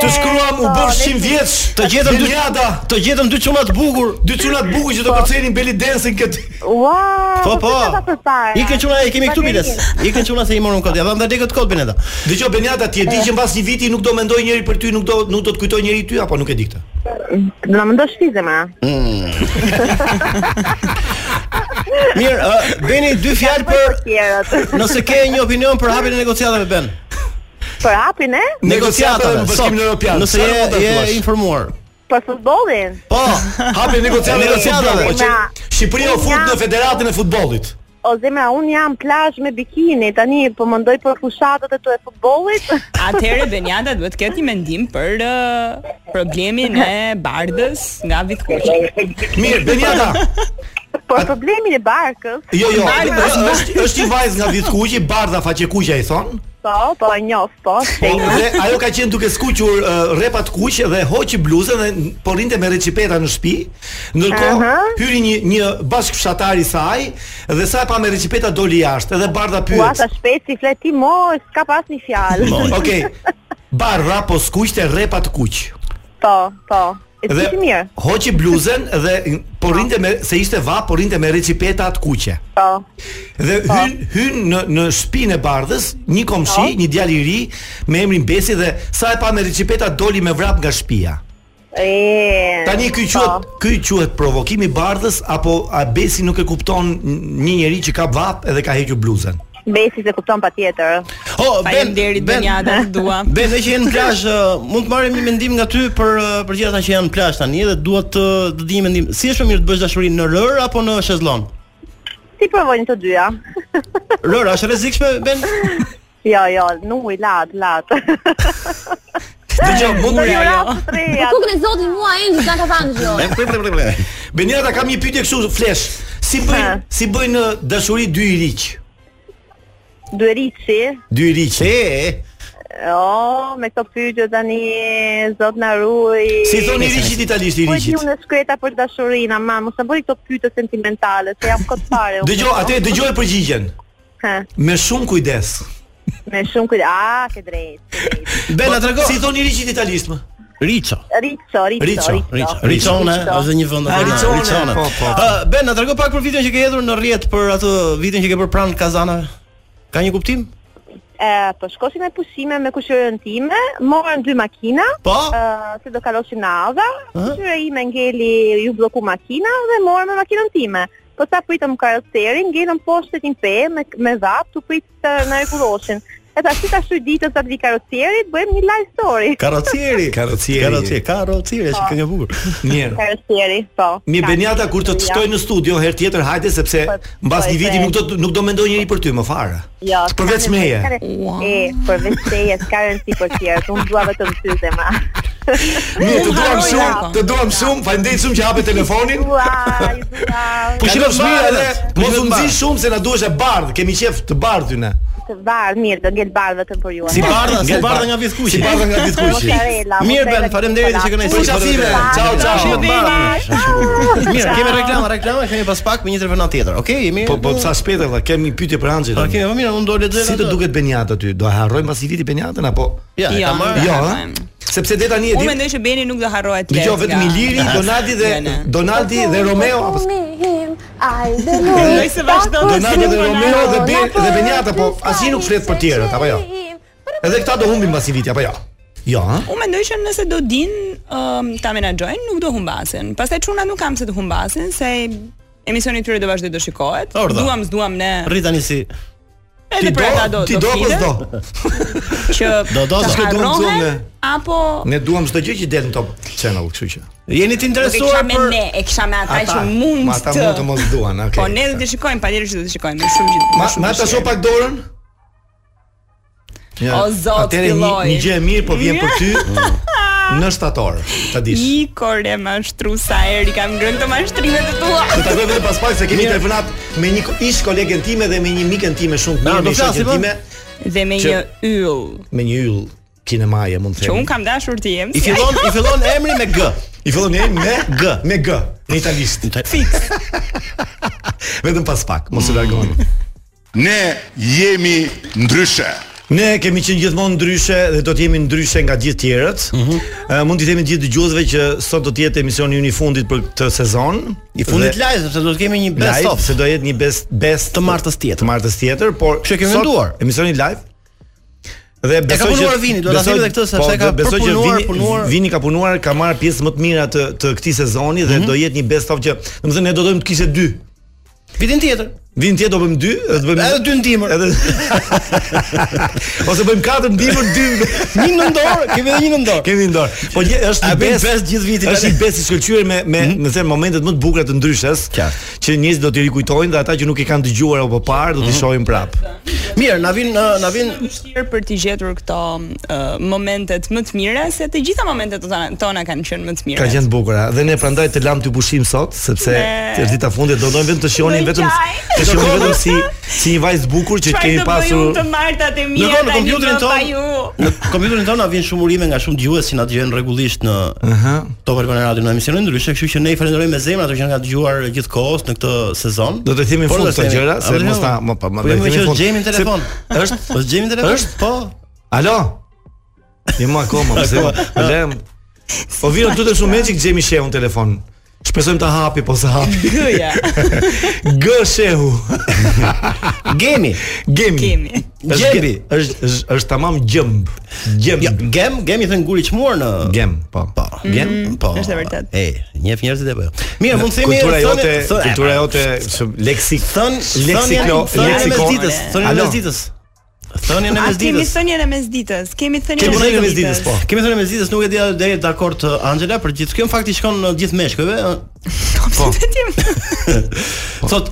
Speaker 6: të shkruam u bër 100 vjeç.
Speaker 5: Të gjetëm dy
Speaker 6: Benjada.
Speaker 5: të gjetëm dy çuna të bukur.
Speaker 6: Dy çuna të bukur që do përcenin Beli Dancing këtë.
Speaker 12: Ua.
Speaker 5: Po po. Ikën
Speaker 12: Ikën
Speaker 5: çuna, e kemi këtu biles. Ikën çuna se i morëm kot. Ja vam dhe këtë kot Benjada.
Speaker 6: Dëgjoj Benjada, ti e di që mbas një viti nuk do mendoj njëri për ty, nuk do nuk do të kujtoj njëri ty apo nuk e di këtë.
Speaker 12: Do na mendosh fizë më.
Speaker 5: Mirë, ë, Beni dy fjalë për nëse ke një opinion për hapjen e negociatave Ben.
Speaker 12: Për hapin, e?
Speaker 5: Negociatave
Speaker 6: në
Speaker 5: sot.
Speaker 6: Bashkimin Evropian.
Speaker 5: Nëse
Speaker 6: Sa
Speaker 5: je
Speaker 6: mund ta thuash?
Speaker 5: je informuar.
Speaker 12: Për futbollin.
Speaker 5: Po,
Speaker 6: Hapi negociatave
Speaker 5: Negociatave.
Speaker 6: Po që Shqipëria u fut në Federatën e futbollit.
Speaker 12: O zemra, un jam plazh me bikini, tani po mendoj për fushatat e tu e futbollit.
Speaker 9: Atëherë Benjada duhet të ketë një mendim për uh, problemin e bardhës nga Vitkuqi.
Speaker 6: Mirë, Benjada.
Speaker 12: Por Po, problemi i barkës,
Speaker 6: Jo, jo,
Speaker 9: Bardha.
Speaker 6: është është- është një vajzë nga Vitkuqi, Bardha faqekuqja i thon.
Speaker 12: po, po e njoh, po.
Speaker 6: Po
Speaker 12: Po,
Speaker 6: dhe ajo ka qenë duke skuqur uh, rrepat kuq dhe hoqi bluzën dhe n- po rinte me recipeta në shtëpi. Ndërkohë
Speaker 12: Aha.
Speaker 6: hyri një një bashkëfshatar i saj dhe sa e pa me recipeta doli jashtë edhe Bardha
Speaker 12: Ua,
Speaker 6: pyet.
Speaker 12: sa shpejt si fleti mo, s'ka pas një fjalë.
Speaker 6: Okej. Bardha po skuqte rrepat kuq.
Speaker 12: Po, po. E ti mirë.
Speaker 6: hoqi bluzën dhe po rinte me se ishte va, po rinte me recipeta atë kuqe.
Speaker 12: Po.
Speaker 6: Dhe hyn hyn në në shtëpinë e Bardhës, një komshi,
Speaker 12: Po.
Speaker 6: një djalë i ri me emrin Besi dhe sa e pa me recipeta doli me vrap nga shtëpia.
Speaker 12: E. po.
Speaker 6: Tani ky quhet ky quhet provokim i Bardhës apo a Besi nuk e kupton një njerëz që ka vap edhe ka hequr bluzën.
Speaker 12: Besi se kupton patjetër.
Speaker 5: ho Ben,
Speaker 9: Faleminderit
Speaker 5: Ben.
Speaker 9: Benjada, të dua.
Speaker 5: Ben, ne që jemi në plazh, ë, mund të marrim një mendim nga ty për ë, për gjithë ata që janë në plazh tani dhe duhet të të di një mendim. Si është më mirë të bësh dashuri në rër apo në shezlon?
Speaker 12: Si provojnë të dyja?
Speaker 5: Rër, a është e rrezikshme Ben?
Speaker 12: Jo, jo, nuk i lat, lat.
Speaker 6: Dëgjoj, mund
Speaker 12: Po
Speaker 6: të
Speaker 12: ju
Speaker 9: jo.
Speaker 12: rap të treja.
Speaker 3: Kukën e zotit mua Angel nga Kavanjo.
Speaker 5: E, pre, pre, pre, pre.
Speaker 6: Benjata kam një pyetje kështu flesh. Si bëjnë
Speaker 12: Ha.
Speaker 6: si bëjnë ë, dashuri dy i riq?
Speaker 12: Dueriçi.
Speaker 6: Dy i riq.
Speaker 12: Jo, me këto pyetje tani zot na ruaj.
Speaker 6: Si thoni i riqit italisht i
Speaker 12: Po e di
Speaker 6: riqit?
Speaker 12: unë shkreta për dashurinë, ama mos më bëri këto pyetje sentimentale, se jam kot fare. unë.
Speaker 6: Dëgjoj, atë dëgjoj përgjigjen.
Speaker 12: Ha,
Speaker 6: Me shumë kujdes.
Speaker 12: me shumë kujdes. Ah, ke drejtë. ke drejtë.
Speaker 5: Ben, na trego.
Speaker 6: Po, Si thoni i riqit italisht më?
Speaker 5: Riço.
Speaker 6: Riccio,
Speaker 12: Riccio, Riccio,
Speaker 5: Riço,
Speaker 12: Riccio.
Speaker 5: Riçone, është një vend aty.
Speaker 6: Riccione,
Speaker 5: Riçone.
Speaker 6: po, po, po.
Speaker 5: Ë, Ben, na trego pak për vitin që ke hedhur në rrjet për atë vitin që ke bërë pranë kazanave. Ka një kuptim?
Speaker 12: Ë, po shkoshim me pushime me kushirën time, morën dy makina,
Speaker 5: Po.
Speaker 12: ë, se do kaloshin në Adha, kushira ime ngeli ju bloku makina dhe morën me makinën time. Po sa pritëm karoserin, ngelën poshtë të timpe me, me dhap, tu prit të na rregulloshin. e tash ta shoj ditën sa të vi karocierit, bëjmë një live story.
Speaker 5: Karocieri. Karocieri. Karocieri, karocieri, që këngë e bukur.
Speaker 6: Mirë.
Speaker 12: Karocieri, po.
Speaker 6: Mi
Speaker 12: Ka-
Speaker 6: Benjata kur të të
Speaker 12: Ja.
Speaker 6: ftoj në studio herë tjetër, hajde sepse mbas
Speaker 12: po,
Speaker 6: një
Speaker 12: e
Speaker 6: viti
Speaker 12: them.
Speaker 6: nuk do të- nuk do mendoj njëri për ty më fare.
Speaker 12: Jo,
Speaker 6: Përveç
Speaker 12: s'ka
Speaker 6: meje.
Speaker 12: nevojë, s'ka ne- E, përveç meje, s'ka rëndësi për tjerët. Unë dua vetëm ty zemra.
Speaker 13: Mirë, të duam shumë, të duam shumë. Faleminderit shumë që hapet telefonin.
Speaker 12: Po
Speaker 6: Pushime
Speaker 13: Pushime
Speaker 6: fëmijë
Speaker 13: fëmijë
Speaker 6: edhe,
Speaker 13: edhe,
Speaker 6: po mos u
Speaker 13: pushime
Speaker 6: nxi
Speaker 13: fëmijë.
Speaker 6: shumë se na duhesh e bardh, kemi qef të bardh ty ne.
Speaker 12: Të bardh, mirë, të ngel bardh vetëm për ju.
Speaker 6: Si bardha, si
Speaker 5: Ngel
Speaker 6: bardha
Speaker 5: bardha.
Speaker 6: nga vizkuqi.
Speaker 5: Si bardha nga vizkuqi. Mirë, Ben, faleminderit që kënaqësi. Ciao, ciao. Mirë, kemi reklama, reklama, kemi pas pak me një telefonat tjetër. Okej, jemi.
Speaker 6: Po po sa shpejt valla, kemi pyetje për Anxhel.
Speaker 5: Po, kemi, po mirë, unë do lexoj.
Speaker 6: Si të duket Benjata ty? Do e harrojmë pas një viti Benjatën apo?
Speaker 5: Ja, e
Speaker 9: Jo,
Speaker 5: kam marrë.
Speaker 9: nuk
Speaker 6: Jo,
Speaker 9: e
Speaker 6: ha?
Speaker 9: harrojmë.
Speaker 6: sepse deri tani e
Speaker 9: Unë
Speaker 6: di.
Speaker 9: mendoj që Beni nuk do harrohet.
Speaker 6: Dëgjoj
Speaker 9: lehtë
Speaker 6: vetëm
Speaker 9: nga-
Speaker 6: Iliri, Donaldi dhe
Speaker 9: Jo, ne.
Speaker 6: Donaldi dhe Romeo apo
Speaker 9: Mendoj se vazhdon.
Speaker 6: Donaldi dhe Romeo dhe Be
Speaker 3: Napo,
Speaker 6: dhe Benjata, po asnjë nuk flet për tjerët apo jo. Edhe këta do humbin pas një viti apo jo. Jo, ha?
Speaker 9: Unë mendoj që nëse do din um, ta menaxhojnë, nuk do humbasin. Pastaj çuna nuk kam se të humbasin, se emisioni i tyre do vazhdoj të shikohet.
Speaker 5: Orda.
Speaker 9: Duam, s'duam ne.
Speaker 5: Rri tani si.
Speaker 9: Edhe për ata pra do.
Speaker 6: ti do apo
Speaker 9: flitet
Speaker 6: s'do?
Speaker 9: Që
Speaker 5: Do, do,
Speaker 9: të
Speaker 5: do.
Speaker 6: S'do duam,
Speaker 9: harrohen,
Speaker 6: thonë ne.
Speaker 9: apo
Speaker 6: Ne duam çdo gjë që del në Top Channel, kështu që.
Speaker 5: Jeni të
Speaker 9: Nuk e kisha
Speaker 5: interesuar
Speaker 9: me
Speaker 5: për
Speaker 9: ne, e kisha me ata që
Speaker 6: Ata-
Speaker 9: mund
Speaker 6: ma ata mund të mos duan, okay.
Speaker 9: Po ne do të shikojmë, patjetër që do të shikojmë, shumë gjithë.
Speaker 6: Ma ma ta shoh pak dorën. Ja.
Speaker 9: O, zot,
Speaker 6: atëre një-
Speaker 9: filloi.
Speaker 6: Një gjë e mirë po vjen për ty në shtator, ta dish.
Speaker 9: I kore mashtru sa eri kam ngrënë të mashtrimet e tua.
Speaker 6: Do takoj vetëm pas pak se kemi telefonat me një ko- ish kolegen time dhe me një mikën time shumë të
Speaker 5: Na,
Speaker 6: mirë,
Speaker 5: do
Speaker 6: me një
Speaker 5: flasim,
Speaker 6: shoqen
Speaker 5: po?
Speaker 6: time,
Speaker 9: Dhe me
Speaker 6: Që-
Speaker 9: një yll,
Speaker 6: me një yll kinemaje mund të
Speaker 9: që
Speaker 6: them.
Speaker 9: un kam dashur të jem.
Speaker 5: I
Speaker 9: si
Speaker 5: fillon, i fillon emri me G.
Speaker 6: I fillon ne me G, me G, në italisht.
Speaker 9: Fix.
Speaker 6: Vetëm pas pak, mos u largoni.
Speaker 8: Ne jemi ndryshe.
Speaker 6: Ne kemi qenë gjithmonë ndryshe dhe do të jemi ndryshe nga gjithë tjerët. Ë
Speaker 5: Mhm.
Speaker 6: mund t'i themi gjithë dëgjuesve që sot do të jetë emisioni ynë i fundit për këtë sezon.
Speaker 5: I fundit
Speaker 6: Dhe-
Speaker 5: live sepse do të kemi një best
Speaker 6: live,
Speaker 5: of.
Speaker 6: se do jetë një best best
Speaker 5: Të martës tjetër.
Speaker 6: Të martës tjetër, por
Speaker 5: Kështu e kemi
Speaker 6: sot
Speaker 5: menduar.
Speaker 6: Emisioni live. Dhe besoj që
Speaker 5: punuar Vini, duhet ta
Speaker 6: besoj-
Speaker 5: themi edhe këtë, sepse
Speaker 6: po,
Speaker 5: ka
Speaker 6: dhe besoj që
Speaker 5: përpunuar,
Speaker 6: Vini,
Speaker 5: punuar.
Speaker 6: Vini ka punuar, ka marrë pjesë më të mira të, të këtij sezoni
Speaker 5: Mhm.
Speaker 6: dhe do jetë një best of që, domethënë ne do dojmë të kishte dy.
Speaker 5: Vitin tjetër.
Speaker 6: Vitin tjetër do bëjmë dy, dhe do bëjmë
Speaker 5: Edhe dy ndihmër.
Speaker 6: Edhe Ose bëjmë katër ndihmër dy.
Speaker 5: Një nëndor, kemi edhe një nëndor.
Speaker 6: Kemi ndor. Po gje, është
Speaker 5: A
Speaker 6: një
Speaker 5: bëjmë
Speaker 6: best,
Speaker 5: best gjithë vitin,
Speaker 6: Është
Speaker 5: tani?
Speaker 6: një best i shkëlqyer me me mm -hmm. momentet më të bukura të ndryshës,
Speaker 5: Qartë.
Speaker 6: që njerëzit do t'i rikujtojnë dhe ata që nuk i kanë dëgjuar apo parë do t'i
Speaker 5: Hmm?
Speaker 6: shohin prapë.
Speaker 5: Mirë, na vin uh, na vin
Speaker 9: vështirë për të gjetur këto uh, momentet më të mira se të gjitha momentet tona, tona kanë qenë më të mira.
Speaker 6: Ka qenë të bukura dhe ne prandaj të lam ty pushim sot sepse
Speaker 9: Me-
Speaker 6: është dita fundit do dojmë vetëm të shihoni
Speaker 9: Me
Speaker 6: vetëm
Speaker 9: qaj.
Speaker 6: të shihoni vetëm si si një vajzë të bukur që
Speaker 9: Çfarë
Speaker 6: kemi
Speaker 9: do bëj unë
Speaker 6: pasur
Speaker 9: të martat e mia
Speaker 5: Ndërkohë në
Speaker 9: tani
Speaker 5: kompjuterin
Speaker 9: më pa ju?
Speaker 5: tonë, në kompjuterin tonë na vin shumë urime nga shumë dëgjues që na dëgjojnë rregullisht në Top Albana Radio në emisione ndryshe, kështu që ne i falenderojmë me zemër ato që na kanë dëgjuar gjithkohës në këtë sezon.
Speaker 6: Do të themi në
Speaker 5: Por
Speaker 6: fund
Speaker 5: do të
Speaker 6: këto
Speaker 5: themi-
Speaker 6: gjëra
Speaker 5: A,
Speaker 6: se
Speaker 5: do të
Speaker 6: mos ta
Speaker 5: themi-
Speaker 6: mo pa ma
Speaker 5: Po
Speaker 6: do
Speaker 5: jemi
Speaker 6: të themi
Speaker 5: që
Speaker 6: në
Speaker 5: është
Speaker 6: fund.
Speaker 5: Gjemi në
Speaker 6: Se-
Speaker 5: telefon.
Speaker 6: Është
Speaker 5: Po gjemi telefon.
Speaker 6: Është?
Speaker 5: po.
Speaker 6: Alo. Jemi akoma pse lëm. Po vjen tutje shumë meçik Xhemi Shehu në telefon. Shpresojmë ta hapi, po sa hapi.
Speaker 9: Gëja.
Speaker 6: G Shehu.
Speaker 5: Gemi.
Speaker 6: Gemi.
Speaker 9: Gemi.
Speaker 6: Është
Speaker 5: Gjembi.
Speaker 6: ge- Është është- është tamam gjëmb.
Speaker 5: Jo,
Speaker 6: Gjëmb.
Speaker 5: gem, gemi thën guri çmuar në
Speaker 6: Gem, po.
Speaker 5: Po, gem, po.
Speaker 9: është e vërtet.
Speaker 5: E, njeh njerëzit apo jo? Mirë, mund të themi
Speaker 6: Kultura
Speaker 5: thoni-
Speaker 6: jote,
Speaker 5: thë-
Speaker 6: kultura jote, së- leksik.
Speaker 5: Thën
Speaker 6: leksiklo,
Speaker 5: thënien e
Speaker 6: leksikon.
Speaker 5: mesditës, thënien e
Speaker 6: Alo.
Speaker 5: mesditës. Thënien e
Speaker 9: A kemi
Speaker 5: mesditës.
Speaker 9: thënien e mesditës? Kemi thënien
Speaker 6: Kemi
Speaker 9: e
Speaker 6: thënë në
Speaker 9: mesditës.
Speaker 6: mesditës, po.
Speaker 5: Kemi thënë e mesditës, nuk e di a deri dakord të Angela për gjithë kjo në fakt i shkon në gjithë meshkujve. ë.
Speaker 9: Po.
Speaker 5: Thot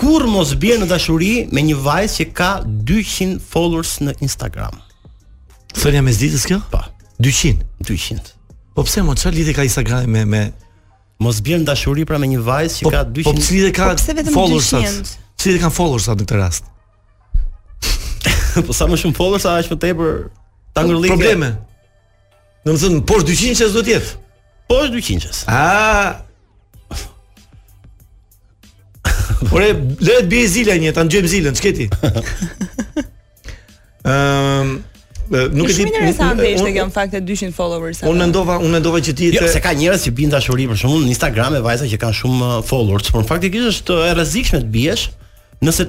Speaker 5: kur mos bie në dashuri me një vajzë që ka 200 followers në Instagram.
Speaker 6: Thënia mes ditës kjo?
Speaker 5: Po,
Speaker 6: 200.
Speaker 5: 200.
Speaker 6: Po pse mo çfarë lidhje ka Instagrami me me
Speaker 5: Mos bie në dashuri pra me një vajzë që
Speaker 6: po
Speaker 5: ka
Speaker 6: po
Speaker 5: 200.
Speaker 6: ç'lidhje ka
Speaker 9: Po pse vetëm
Speaker 6: followersat?
Speaker 9: 200?
Speaker 6: Ç'lidhje kanë followersat në këtë rast?
Speaker 5: Po sa më shumë followers, aq më tepër ta ngërllikë.
Speaker 6: Po, Probleme. Domethënë poshtë 200 çes do të jetë.
Speaker 5: Po është 200-s.
Speaker 6: Ah. Ore, le të bie zila një, ta ngjojmë zilën, ç'keti? Ëm, Ehm, e, nuk e di.
Speaker 9: Shumë interesante ishte
Speaker 6: unë-
Speaker 9: kjo në fakt e 200 followers.
Speaker 6: Unë mendova, unë mendova që ti
Speaker 5: Jo,
Speaker 6: je
Speaker 5: se ka njerëz që bin dashuri për shembull në Instagram e vajza që kanë shumë uh, followers, por faktikisht është uh, e rrezikshme të biesh nëse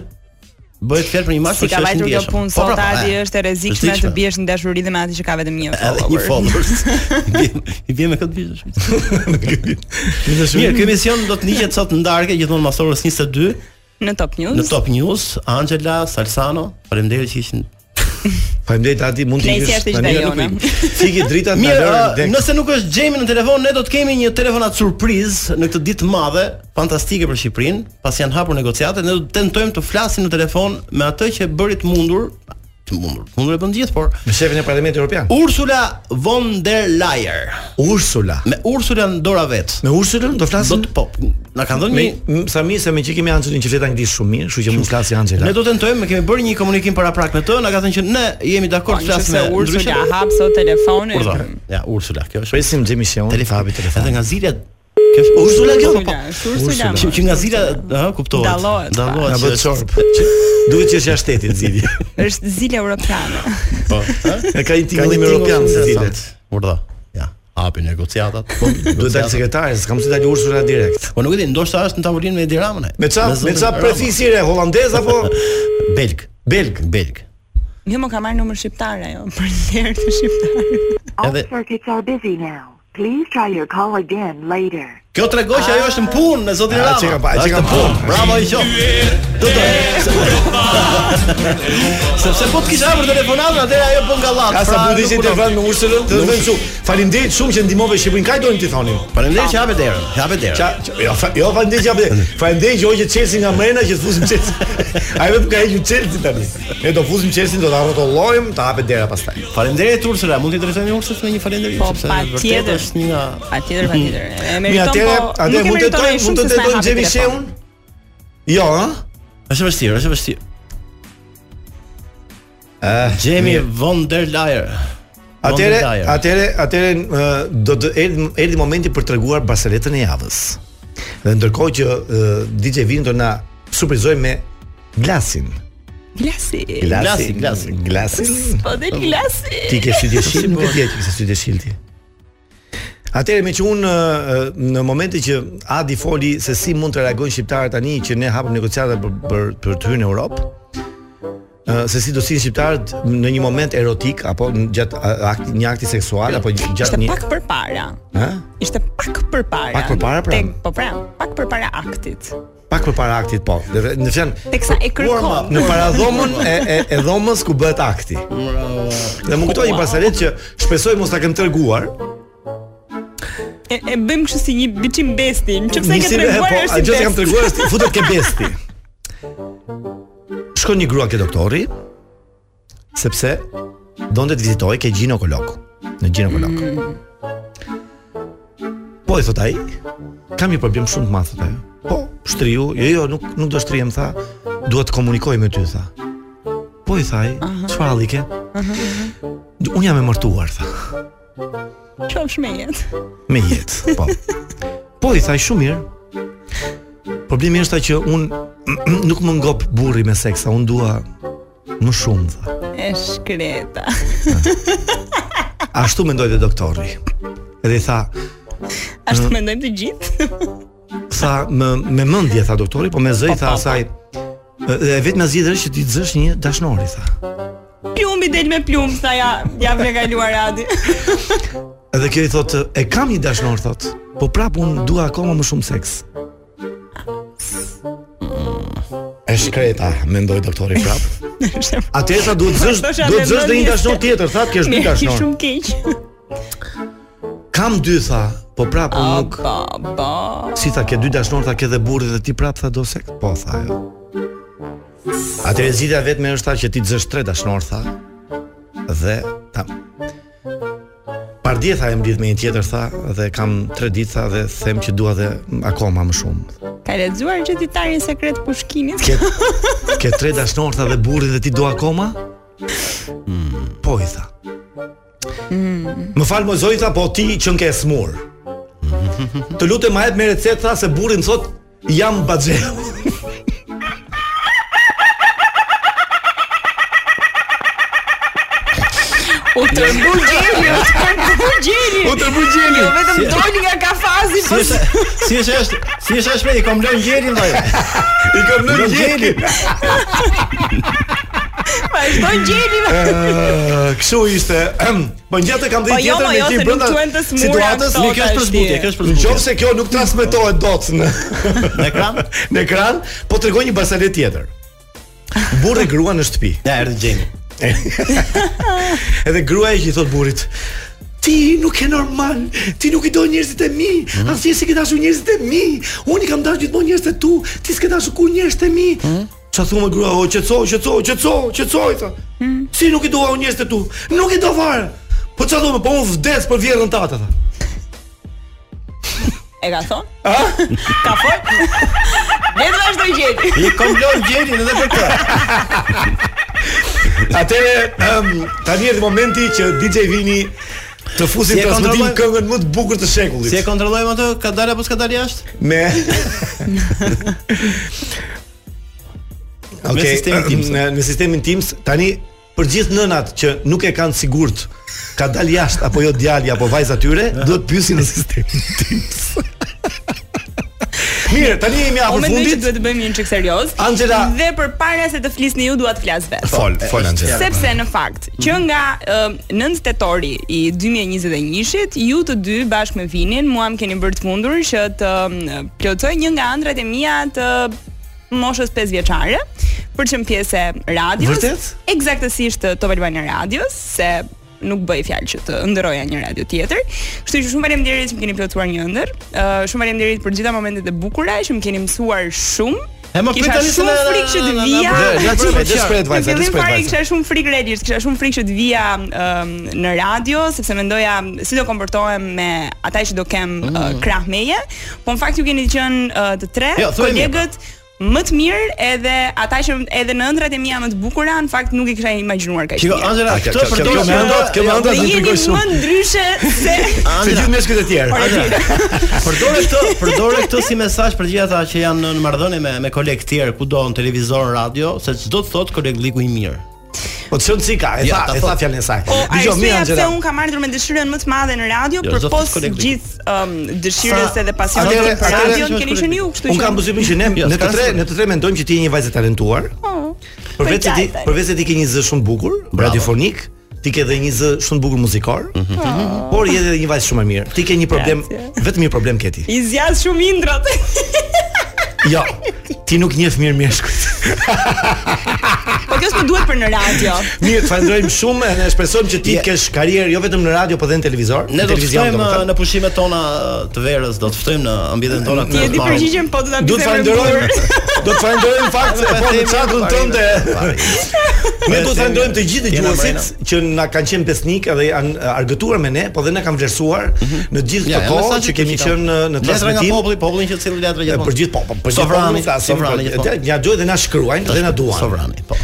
Speaker 5: bëhet fjalë për një imazh
Speaker 9: Si ka vajtur kjo
Speaker 5: ndjeshëm.
Speaker 9: punë
Speaker 5: Po,
Speaker 9: sot
Speaker 5: pra,
Speaker 9: Adi
Speaker 5: e,
Speaker 9: është e rrezikshme të biesh në dashuri dhe me atë që ka vetëm një
Speaker 5: edhe një followers.
Speaker 9: follower.
Speaker 5: I bie- I bie me këtë bie dashuri. Mirë, ky emision do të niqet sot në darkë gjithmonë mas orës 22
Speaker 9: Në Top News.
Speaker 5: në Top News. Angela Salsano, faleminderit që ishin
Speaker 6: Faleminderit Adi, mund të
Speaker 9: Nejsi është ishte
Speaker 6: tani
Speaker 9: jona.
Speaker 6: nuk ik. Fiki drita ta
Speaker 5: Mirë,
Speaker 6: lërë
Speaker 5: uh,
Speaker 6: dek.
Speaker 5: nëse nuk është Gjemi në telefon, ne do të kemi një telefonat surprizë në këtë ditë madhe, fantastike për Shqipërinë, pas janë hapur negociatet, ne do të tentojmë të flasim në telefon me atë që e bëri të mundur, të mundur, të mundur e bën gjithë, por
Speaker 6: me shefin e Parlamentit Evropian.
Speaker 5: Ursula von der Leyen.
Speaker 6: Ursula.
Speaker 5: Me Ursula në dora vet.
Speaker 6: Me Ursula do flasim?
Speaker 5: Do të po. Na kanë dhënë
Speaker 6: Me
Speaker 5: një
Speaker 6: m- sa mi se me që kemi Anxhelin që flet anglisht shumë mirë, kështu që mund të flasi Anxhela.
Speaker 5: Ne do të tentojmë, ne kemi bërë një komunikim para prak me të, na ka thënë që ne jemi
Speaker 9: Po,
Speaker 5: dakord të flasim me
Speaker 9: Ursula
Speaker 5: ndryshe.
Speaker 9: hap sot telefonin.
Speaker 5: Urdhë. Ja, Ursula, kjo është.
Speaker 6: Presim Xhemi Sheun.
Speaker 5: Telefoni, telefon. Edhe nga zila Kjo është Ursula kjo? Po, po.
Speaker 9: Është Ursula.
Speaker 5: Që, që nga zila, ha, kuptohet.
Speaker 9: Dallohet, pa.
Speaker 5: Dallohet.
Speaker 6: Na
Speaker 5: që
Speaker 6: bëhet
Speaker 5: është-
Speaker 6: çorb. Që- Duhet që është jashtë shtetit zili.
Speaker 9: Është zile europiane.
Speaker 5: Po.
Speaker 6: E ka një
Speaker 5: Ka një
Speaker 6: tingull
Speaker 5: tingull
Speaker 6: europian se
Speaker 5: interesant. Urdhë. Ja. Hapi negociatat. Po,
Speaker 6: Duhet dal
Speaker 5: negociatat.
Speaker 6: sekretare, s'kam si dalë Ursula direkt.
Speaker 5: Po nuk e di, ndoshta është në tavolinë me Edi Ramën. e.
Speaker 6: Me ça, me
Speaker 5: zotin
Speaker 6: ça
Speaker 5: Rama.
Speaker 6: prefisire holandez apo
Speaker 5: Belg.
Speaker 6: belg?
Speaker 5: Belg.
Speaker 9: Një më ka marrë numër shqiptar ajo, për ndër të shqiptar.
Speaker 5: Edhe
Speaker 12: Circuits are busy now. Please try your call again later.
Speaker 5: kjo trego që ajo është në punë me zotin
Speaker 6: A,
Speaker 5: Rama.
Speaker 6: që ka pa- që
Speaker 5: Është
Speaker 6: ka
Speaker 5: në punë.
Speaker 6: punë.
Speaker 5: Bravo i qof. Do të. Sepse po të kisha për telefonatën, atëherë ajo bën gallat.
Speaker 6: Ka sa
Speaker 5: pra,
Speaker 6: bundi që
Speaker 5: nuk punon.
Speaker 6: interval me Ursulën, do të them shumë. Faleminderit shumë që ndihmove Shqipërinë. Kaj doin ti thonin?
Speaker 5: Faleminderit që hapet derën. Hapet derën.
Speaker 6: Qa, qa- jo, fa, jo faleminderit që apo. Faleminderit që hoqë Chelsea nga mrena që të fusim Chelsea. Ai vetëm ka hequr Chelsea tani. Ne do fusim Chelsea, do ta rrotullojmë, ta hapet dera pastaj.
Speaker 5: Faleminderit Ursula, mund t'i drejtoni Ursulës me një falenderim
Speaker 9: Po,
Speaker 5: sepse
Speaker 9: patjetër.
Speaker 5: vërtet është një nga
Speaker 9: Patjetër, patjetër. E
Speaker 6: Hmm. Mi
Speaker 9: meriton
Speaker 6: atëre,
Speaker 9: po.
Speaker 6: atë
Speaker 9: nuk e
Speaker 6: mund të
Speaker 9: meriton ai
Speaker 6: tojmë,
Speaker 9: shumë
Speaker 6: mund të
Speaker 9: se sa e
Speaker 6: tojmë
Speaker 9: hapi
Speaker 6: Xhemi
Speaker 9: telefonin.
Speaker 6: Sheun. Jo, ha?
Speaker 5: është e vështirë, është e vështirë. Eh, Jemi von der Leyen. Von der
Speaker 6: Atëre,
Speaker 5: Leyen.
Speaker 6: atëre, atëre ë, do të erdhi erdhi momenti për t'treguar barseletën e javës. Dhe ndërkohë që ë, DJ Vini do na surprizoj me glasin.
Speaker 9: Glasi.
Speaker 5: Glasi, glasi.
Speaker 6: glasin.
Speaker 9: Po del glasi.
Speaker 6: Oh. Ti ke sy dëshil, nuk e di që ke sy dëshil ti. Atëherë me që unë ë, ë, në momentin që Adi foli se si mund të reagojnë shqiptarët tani që ne hapëm negociata për për për të hyrë në Europë, ë, se si do sillen shqiptarët në një moment erotik apo në gjatë a- akti, një akti seksual apo
Speaker 9: Ishte
Speaker 6: gjatë një
Speaker 9: pak përpara.
Speaker 6: Ë?
Speaker 9: Ishte pak përpara.
Speaker 6: Pak përpara, pra?
Speaker 9: Tek, po pra, pak përpara aktit.
Speaker 6: pak përpara aktit po. Dhe dhe- Në fjalë
Speaker 9: Teksa e kërkon.
Speaker 6: në paradhomën e, e, e dhomës ku bëhet akti. Dhe më kujtoi një pasalet që shpresoj mos ta kem treguar,
Speaker 9: E, e bëjmë kështu si një biçim besti. Nëse e ke
Speaker 6: Nisi-
Speaker 9: treguar
Speaker 6: po,
Speaker 9: është si
Speaker 6: ajo që
Speaker 9: besti.
Speaker 6: kam treguar është futet ke besti. Shkon një grua ke doktori sepse donte të vizitoj ke ginekolog, në ginekolog. Po i thot ai, kam një problem shumë të madh thot ajo. Po, shtriu, jo jo, nuk nuk do shtrihem tha, dua të komunikoj me ty tha. Po i thaj, çfarë halli ke? Unë jam e martuar tha.
Speaker 9: Qofsh me jetë.
Speaker 6: Me jetë, po. Po, i thaj shumë mirë. Problemi është ta që unë nuk më ngop burri me seksa, unë dua më shumë, tha.
Speaker 9: E shkreta.
Speaker 6: Hmm. Ashtu mendoj dhe doktori. Edhe i tha,
Speaker 9: Ashtu mendojmë të gjithë.
Speaker 6: tha më, me mendje, tha doktori, po me zë i tha
Speaker 9: po, po.
Speaker 6: asaj, e vetëm zgjidhja është që ti të zësh një dashnori, tha.
Speaker 9: Plumbi del me plumb, sa ja ja me kaluar Adi.
Speaker 6: Edhe kjo i thotë, e kam një dashnor, thot, po prap unë dua akoma më shumë seks. E shkreta, mendoj doktori prap. Atëherë tha duhet zësh,
Speaker 9: Thosha
Speaker 6: duhet zësh dhe një
Speaker 9: mendonjë
Speaker 6: dashnor
Speaker 9: se-
Speaker 6: tjetër, tha, kesh dy
Speaker 9: Mirë,
Speaker 6: dashnor.
Speaker 9: shumë keq.
Speaker 6: Kam dy tha, po prap unë nuk.
Speaker 9: Po, po.
Speaker 6: Si tha ke dy dashnor tha ke dhe burrin dhe ti prap tha do sekt? Po tha ajo. Atëherë zgjidhja vetme është tha që ti të zësh tre dashnor tha. Dhe ta Pardje tha e mblidh me një tjetër tha dhe kam tre ditë tha dhe them që dua dhe akoma më shumë.
Speaker 9: Ka lexuar që ditarin sekret pushkinit.
Speaker 6: Ke ke tre dashnor tha dhe burrin dhe ti do akoma? Po i tha.
Speaker 9: Hmm.
Speaker 6: Më fal më zoj tha, po ti që nke e smur. Të lutem ma jep me recetë tha se burri më thot jam baxheu.
Speaker 9: U tërbu gjeni, u tërbu gjeni.
Speaker 6: U të burgjeni.
Speaker 9: Jo, vetëm doli nga kafazi. po
Speaker 5: Si është, si është, është, si është, është, i kam lënë gjerin vllai.
Speaker 6: jo. I kam në gjeli.
Speaker 9: Vazhdo gjeni.
Speaker 6: Kështu ishte. Po ngjatë kam
Speaker 9: Po
Speaker 6: dhënë
Speaker 9: jo,
Speaker 6: tjetër
Speaker 9: po jo, se nuk quhen të smura.
Speaker 6: situatës.
Speaker 9: këto,
Speaker 5: Mi, kjo është për
Speaker 9: tash,
Speaker 5: zbutje,
Speaker 9: ti.
Speaker 5: kjo është për
Speaker 6: Në qoftë
Speaker 5: zbutje.
Speaker 6: se kjo nuk transmetohet dot në
Speaker 5: Në ekran?
Speaker 6: në ekran, po tregoj një basalet tjetër. Burri grua në shtëpi.
Speaker 5: Ja, erdhi Jemi.
Speaker 6: Edhe gruaja që i thot burrit, Ti nuk je normal. Ti nuk i do njerëzit e mi. Mm
Speaker 5: Mhm.
Speaker 6: -hmm. Asnjë si ke dashur njerëzit e mi. Unë i kam dashur gjithmonë njerëzit e tu. Ti s'ke dashur kur njerëzit e mi.
Speaker 5: Mhm.
Speaker 6: Ça thua me grua, o qetso, qetso, qetso, qetso i tha.
Speaker 5: Mhm.
Speaker 6: Si nuk i dua unë njerëzit e tu. Nuk i do fare. Po ça thua, po unë vdes për vjerrën tatë tha.
Speaker 9: E ka thonë? A? Ka fol? Vetë vazhdoj gjeti.
Speaker 5: I komplon gjetin edhe për këtë.
Speaker 6: Atëre, um, tani është momenti që DJ Vini të fusim
Speaker 5: Si e
Speaker 6: transmetim
Speaker 5: kontrollojmë?
Speaker 6: këngën më të bukur të shekullit.
Speaker 5: Si e kontrollojmë atë? Ka dalë apo s'ka dalë jashtë?
Speaker 6: Me
Speaker 5: Me sistemin Teams.
Speaker 6: ehm, Në, në sistemin Teams tani për gjithë nënat që nuk e kanë sigurt ka dal jashtë apo jo djali apo vajza tyre, duhet pyesin në sistemin Teams. Mirë, tani jemi
Speaker 9: Unë
Speaker 6: afër
Speaker 9: Po mendoj që
Speaker 6: fundit.
Speaker 9: duhet të bëjmë një çik serioz.
Speaker 6: Angela-
Speaker 9: dhe përpara se të flisni ju dua të flas vetë.
Speaker 6: Fol, fol Angela.
Speaker 9: Sepse në fakt që nga ëm, 9 tetori i 2021-shit ju të dy bashkë me Vinin mua më keni bërë të mundur që të ëm, plotësoj një nga ëndrat e mia të moshës 5 vjeçare për çm pjesë e radios.
Speaker 6: Vërtet?
Speaker 9: Eksaktësisht të Top Albania Radios se nuk bëj fjalë që të ndëroja një radio tjetër. Kështu që shumë faleminderit që më keni plotësuar një ëndër. Ë, shumë faleminderit për gjitha momentet e bukura që më keni mësuar shumë.
Speaker 5: E më prit
Speaker 9: Kisha
Speaker 5: tani se
Speaker 9: shumë
Speaker 5: na- na-
Speaker 9: frikë që të
Speaker 5: na- na-
Speaker 9: vija.
Speaker 5: na- na- na-
Speaker 6: Desperate, desperate
Speaker 9: Në
Speaker 6: vajza,
Speaker 9: fillim
Speaker 6: desperate
Speaker 9: fare
Speaker 6: vajza.
Speaker 9: kisha shumë frikë regjisht, kisha shumë frikë që të vija ëm, në radio sepse mendoja si do komportohem me ata që do kem uh,
Speaker 6: Mm.
Speaker 9: krah meje, po në fakt ju keni qenë ë, të tre
Speaker 5: Jo, thuaj
Speaker 6: po.
Speaker 5: mirë,
Speaker 9: kolegët më të mirë edhe ata që edhe në ëndrat e mia më të bukura në fakt nuk i kisha imagjinuar kaq.
Speaker 5: Shiko
Speaker 9: mirë.
Speaker 5: Angela,
Speaker 6: A, kjo-
Speaker 5: këtë
Speaker 6: kjo- kjo-
Speaker 5: përdor
Speaker 6: kjo me ëndrat, kjo me
Speaker 5: Jo,
Speaker 6: ëndrat
Speaker 9: Dhe
Speaker 6: Angela,
Speaker 9: jeni
Speaker 6: intrigoj
Speaker 9: më
Speaker 6: shumë.
Speaker 9: ndryshe se
Speaker 6: Se
Speaker 5: Angela,
Speaker 6: gjithë meshkujt e tjerë.
Speaker 5: Angela, Përdore këtë, përdore këtë si mesazh për gjithë ata që janë në marrëdhënie me me kolegë të tjerë kudo në televizor, radio, se çdo të thotë koleg Liku i mirë.
Speaker 6: Po çon si ka, e
Speaker 5: Ja,
Speaker 6: tha,
Speaker 5: ta
Speaker 6: e
Speaker 5: thot.
Speaker 6: tha fjalën e saj.
Speaker 9: Po
Speaker 6: Dgjoj mirë
Speaker 9: arsyeja pse
Speaker 6: Angela.
Speaker 9: un kam ardhur me dëshirën më të madhe në radio
Speaker 5: Jo,
Speaker 9: për
Speaker 5: zoti
Speaker 9: pos
Speaker 5: koleg,
Speaker 9: gjithë um, dëshirës
Speaker 5: Sa-
Speaker 9: edhe pasionit
Speaker 6: atëre-
Speaker 9: tim për
Speaker 6: atëre-
Speaker 9: radion keni qenë ju, kështu
Speaker 6: Un kam buzëmin që ne
Speaker 5: Jo,
Speaker 6: në të
Speaker 5: s'ka
Speaker 6: tre,
Speaker 5: asnjë.
Speaker 6: në të tre mendojmë që ti je një vajzë e talentuar.
Speaker 9: Po.
Speaker 6: Përveç se ti, përveç se ti ke një zë shumë bukur, radiofonik, ti ke edhe një zë shumë bukur muzikor, Mhm. por je edhe një vajzë shumë e mirë. Ti ke një problem,
Speaker 9: Mhm. Grazie.
Speaker 6: vetëm një problem ke ti.
Speaker 9: I zjas shumë indrat.
Speaker 6: Jo, ti nuk njeh mirë mjeshkujt.
Speaker 9: po kjo s'më duhet për në radio.
Speaker 6: Mirë, të falenderojmë shumë e ne shpresojmë që ti
Speaker 5: Je.
Speaker 6: kesh karrierë jo vetëm në radio, por edhe në televizor,
Speaker 5: Ne
Speaker 6: në
Speaker 5: do të
Speaker 6: televizion
Speaker 5: ftojmë
Speaker 6: domethënë.
Speaker 5: në pushimet tona eh, të verës, do të ftojmë në ambientet tona
Speaker 9: Ti
Speaker 5: të
Speaker 9: e di
Speaker 6: Bravo.
Speaker 9: përgjigjen, po do ta
Speaker 6: Do të
Speaker 9: bëj
Speaker 6: falenderojmë. Do të falenderojmë fakt se po në çatun tënde. Ne do të falenderojmë të gjithë
Speaker 5: Jena
Speaker 6: dëgjuesit që na kanë qenë besnik edhe janë uh, argëtuar me ne, po dhe na kanë vlerësuar në gjithë
Speaker 5: Mhm. Ja,
Speaker 6: këtë kohë po, që kemi qenë në- në
Speaker 5: letra nga
Speaker 6: transmetim.
Speaker 5: populli, popullin që cilë letra
Speaker 6: E,
Speaker 5: gjithmonë.
Speaker 6: Për gjithë po, po, për gjithë
Speaker 5: Sovrani,
Speaker 6: popullin flasim,
Speaker 5: sovrani
Speaker 6: për-
Speaker 5: gjithmonë.
Speaker 6: e, Ja duhet dhe na shkruajnë dhe na duan.
Speaker 5: Sovrani, po.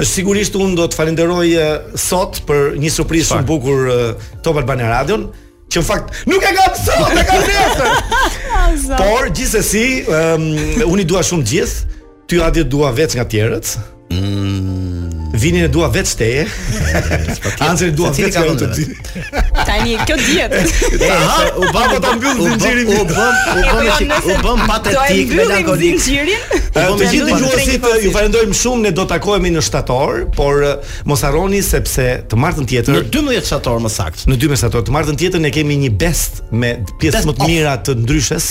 Speaker 6: Është sigurisht unë do të falenderoj e, sot për një surprizë shumë bukur e, Top Albania Radion, që në fakt nuk e kam sot, e kam nesër. Por gjithsesi, um, unë i dua shumë të gjithë, ty Adi e dua veç nga tjerët.
Speaker 5: Mm.
Speaker 6: Vinin e dua veç teje. Anxhelin dua
Speaker 5: Secili
Speaker 6: veç
Speaker 5: ka
Speaker 6: nga unë të
Speaker 5: vëndën
Speaker 6: dy.
Speaker 9: Tani kjo dihet.
Speaker 5: Aha, u bëm
Speaker 6: po ta mbyll zinxhirin.
Speaker 5: U bëm, u
Speaker 9: Po,
Speaker 5: bëm,
Speaker 9: jo,
Speaker 5: shik-
Speaker 9: nëse
Speaker 5: u bëm
Speaker 9: do e
Speaker 5: patetik,
Speaker 9: mbyllim
Speaker 5: melankolik.
Speaker 9: zinxhirin,
Speaker 6: E,
Speaker 5: Po,
Speaker 6: Të
Speaker 5: me
Speaker 6: gjithë
Speaker 5: ndu-
Speaker 6: dëgjuesit e, ju falenderojmë shumë, ne do takohemi në shtator, por e, mos harroni sepse të martën
Speaker 5: Në
Speaker 6: tjetër
Speaker 5: 12 shtator më saktë.
Speaker 6: Në 12 shtator të martën tjetër ne kemi një best me pjesë
Speaker 5: Best
Speaker 6: më
Speaker 5: of.
Speaker 6: të
Speaker 5: Mhm.
Speaker 6: mira të ndryshes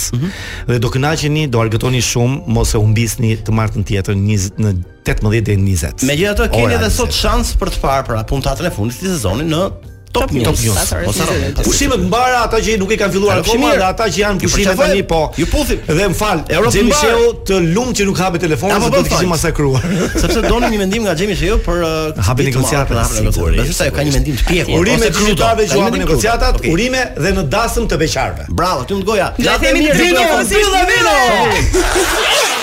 Speaker 6: dhe do kënaqeni, do argëtoni shumë mos e humbisni të martën tjetër 20 në 18 deri në 20.
Speaker 5: Megjithatë keni
Speaker 6: Ora
Speaker 5: edhe sot
Speaker 6: 20.
Speaker 5: shans për të parë pra puntatën e fundit të sezonit në Top News.
Speaker 6: News,
Speaker 9: pas orës
Speaker 5: Mos harroni.
Speaker 9: 22.
Speaker 6: Pushimet mbara ata që nuk i kanë filluar
Speaker 5: Tani
Speaker 6: akoma
Speaker 5: pushimi-
Speaker 6: dhe ata që janë
Speaker 5: Ju
Speaker 6: pushime
Speaker 5: përqafoj,
Speaker 6: tani po.
Speaker 5: ju puthim.
Speaker 6: Dhe më fal,
Speaker 5: Europë
Speaker 6: Xhemi
Speaker 5: mbarë.
Speaker 6: Sheu të lumt që nuk hapi telefonin
Speaker 5: Apo
Speaker 6: se do
Speaker 5: po
Speaker 6: të kishim
Speaker 5: thoj.
Speaker 6: masakruar.
Speaker 5: Sepse donim një mendim nga Xhemi Sheu për uh,
Speaker 6: Hapi
Speaker 5: ditë të marrë,
Speaker 6: negociatat,
Speaker 5: për hapin negociatat.
Speaker 6: sigurisht,
Speaker 5: Besoj se ajo ka një mendim të pjekur.
Speaker 6: Urime
Speaker 5: ose
Speaker 6: të
Speaker 5: crudo.
Speaker 6: qytetarëve që
Speaker 5: Ka një
Speaker 6: hapi
Speaker 5: mendim crudo.
Speaker 6: negociatat,
Speaker 5: Okej.
Speaker 6: urime dhe në dasëm të beqarve.
Speaker 5: Bravo, ti më goja.
Speaker 9: Do e themi në
Speaker 5: Vino,
Speaker 9: rrugë,
Speaker 5: vino,
Speaker 9: si-
Speaker 5: vino.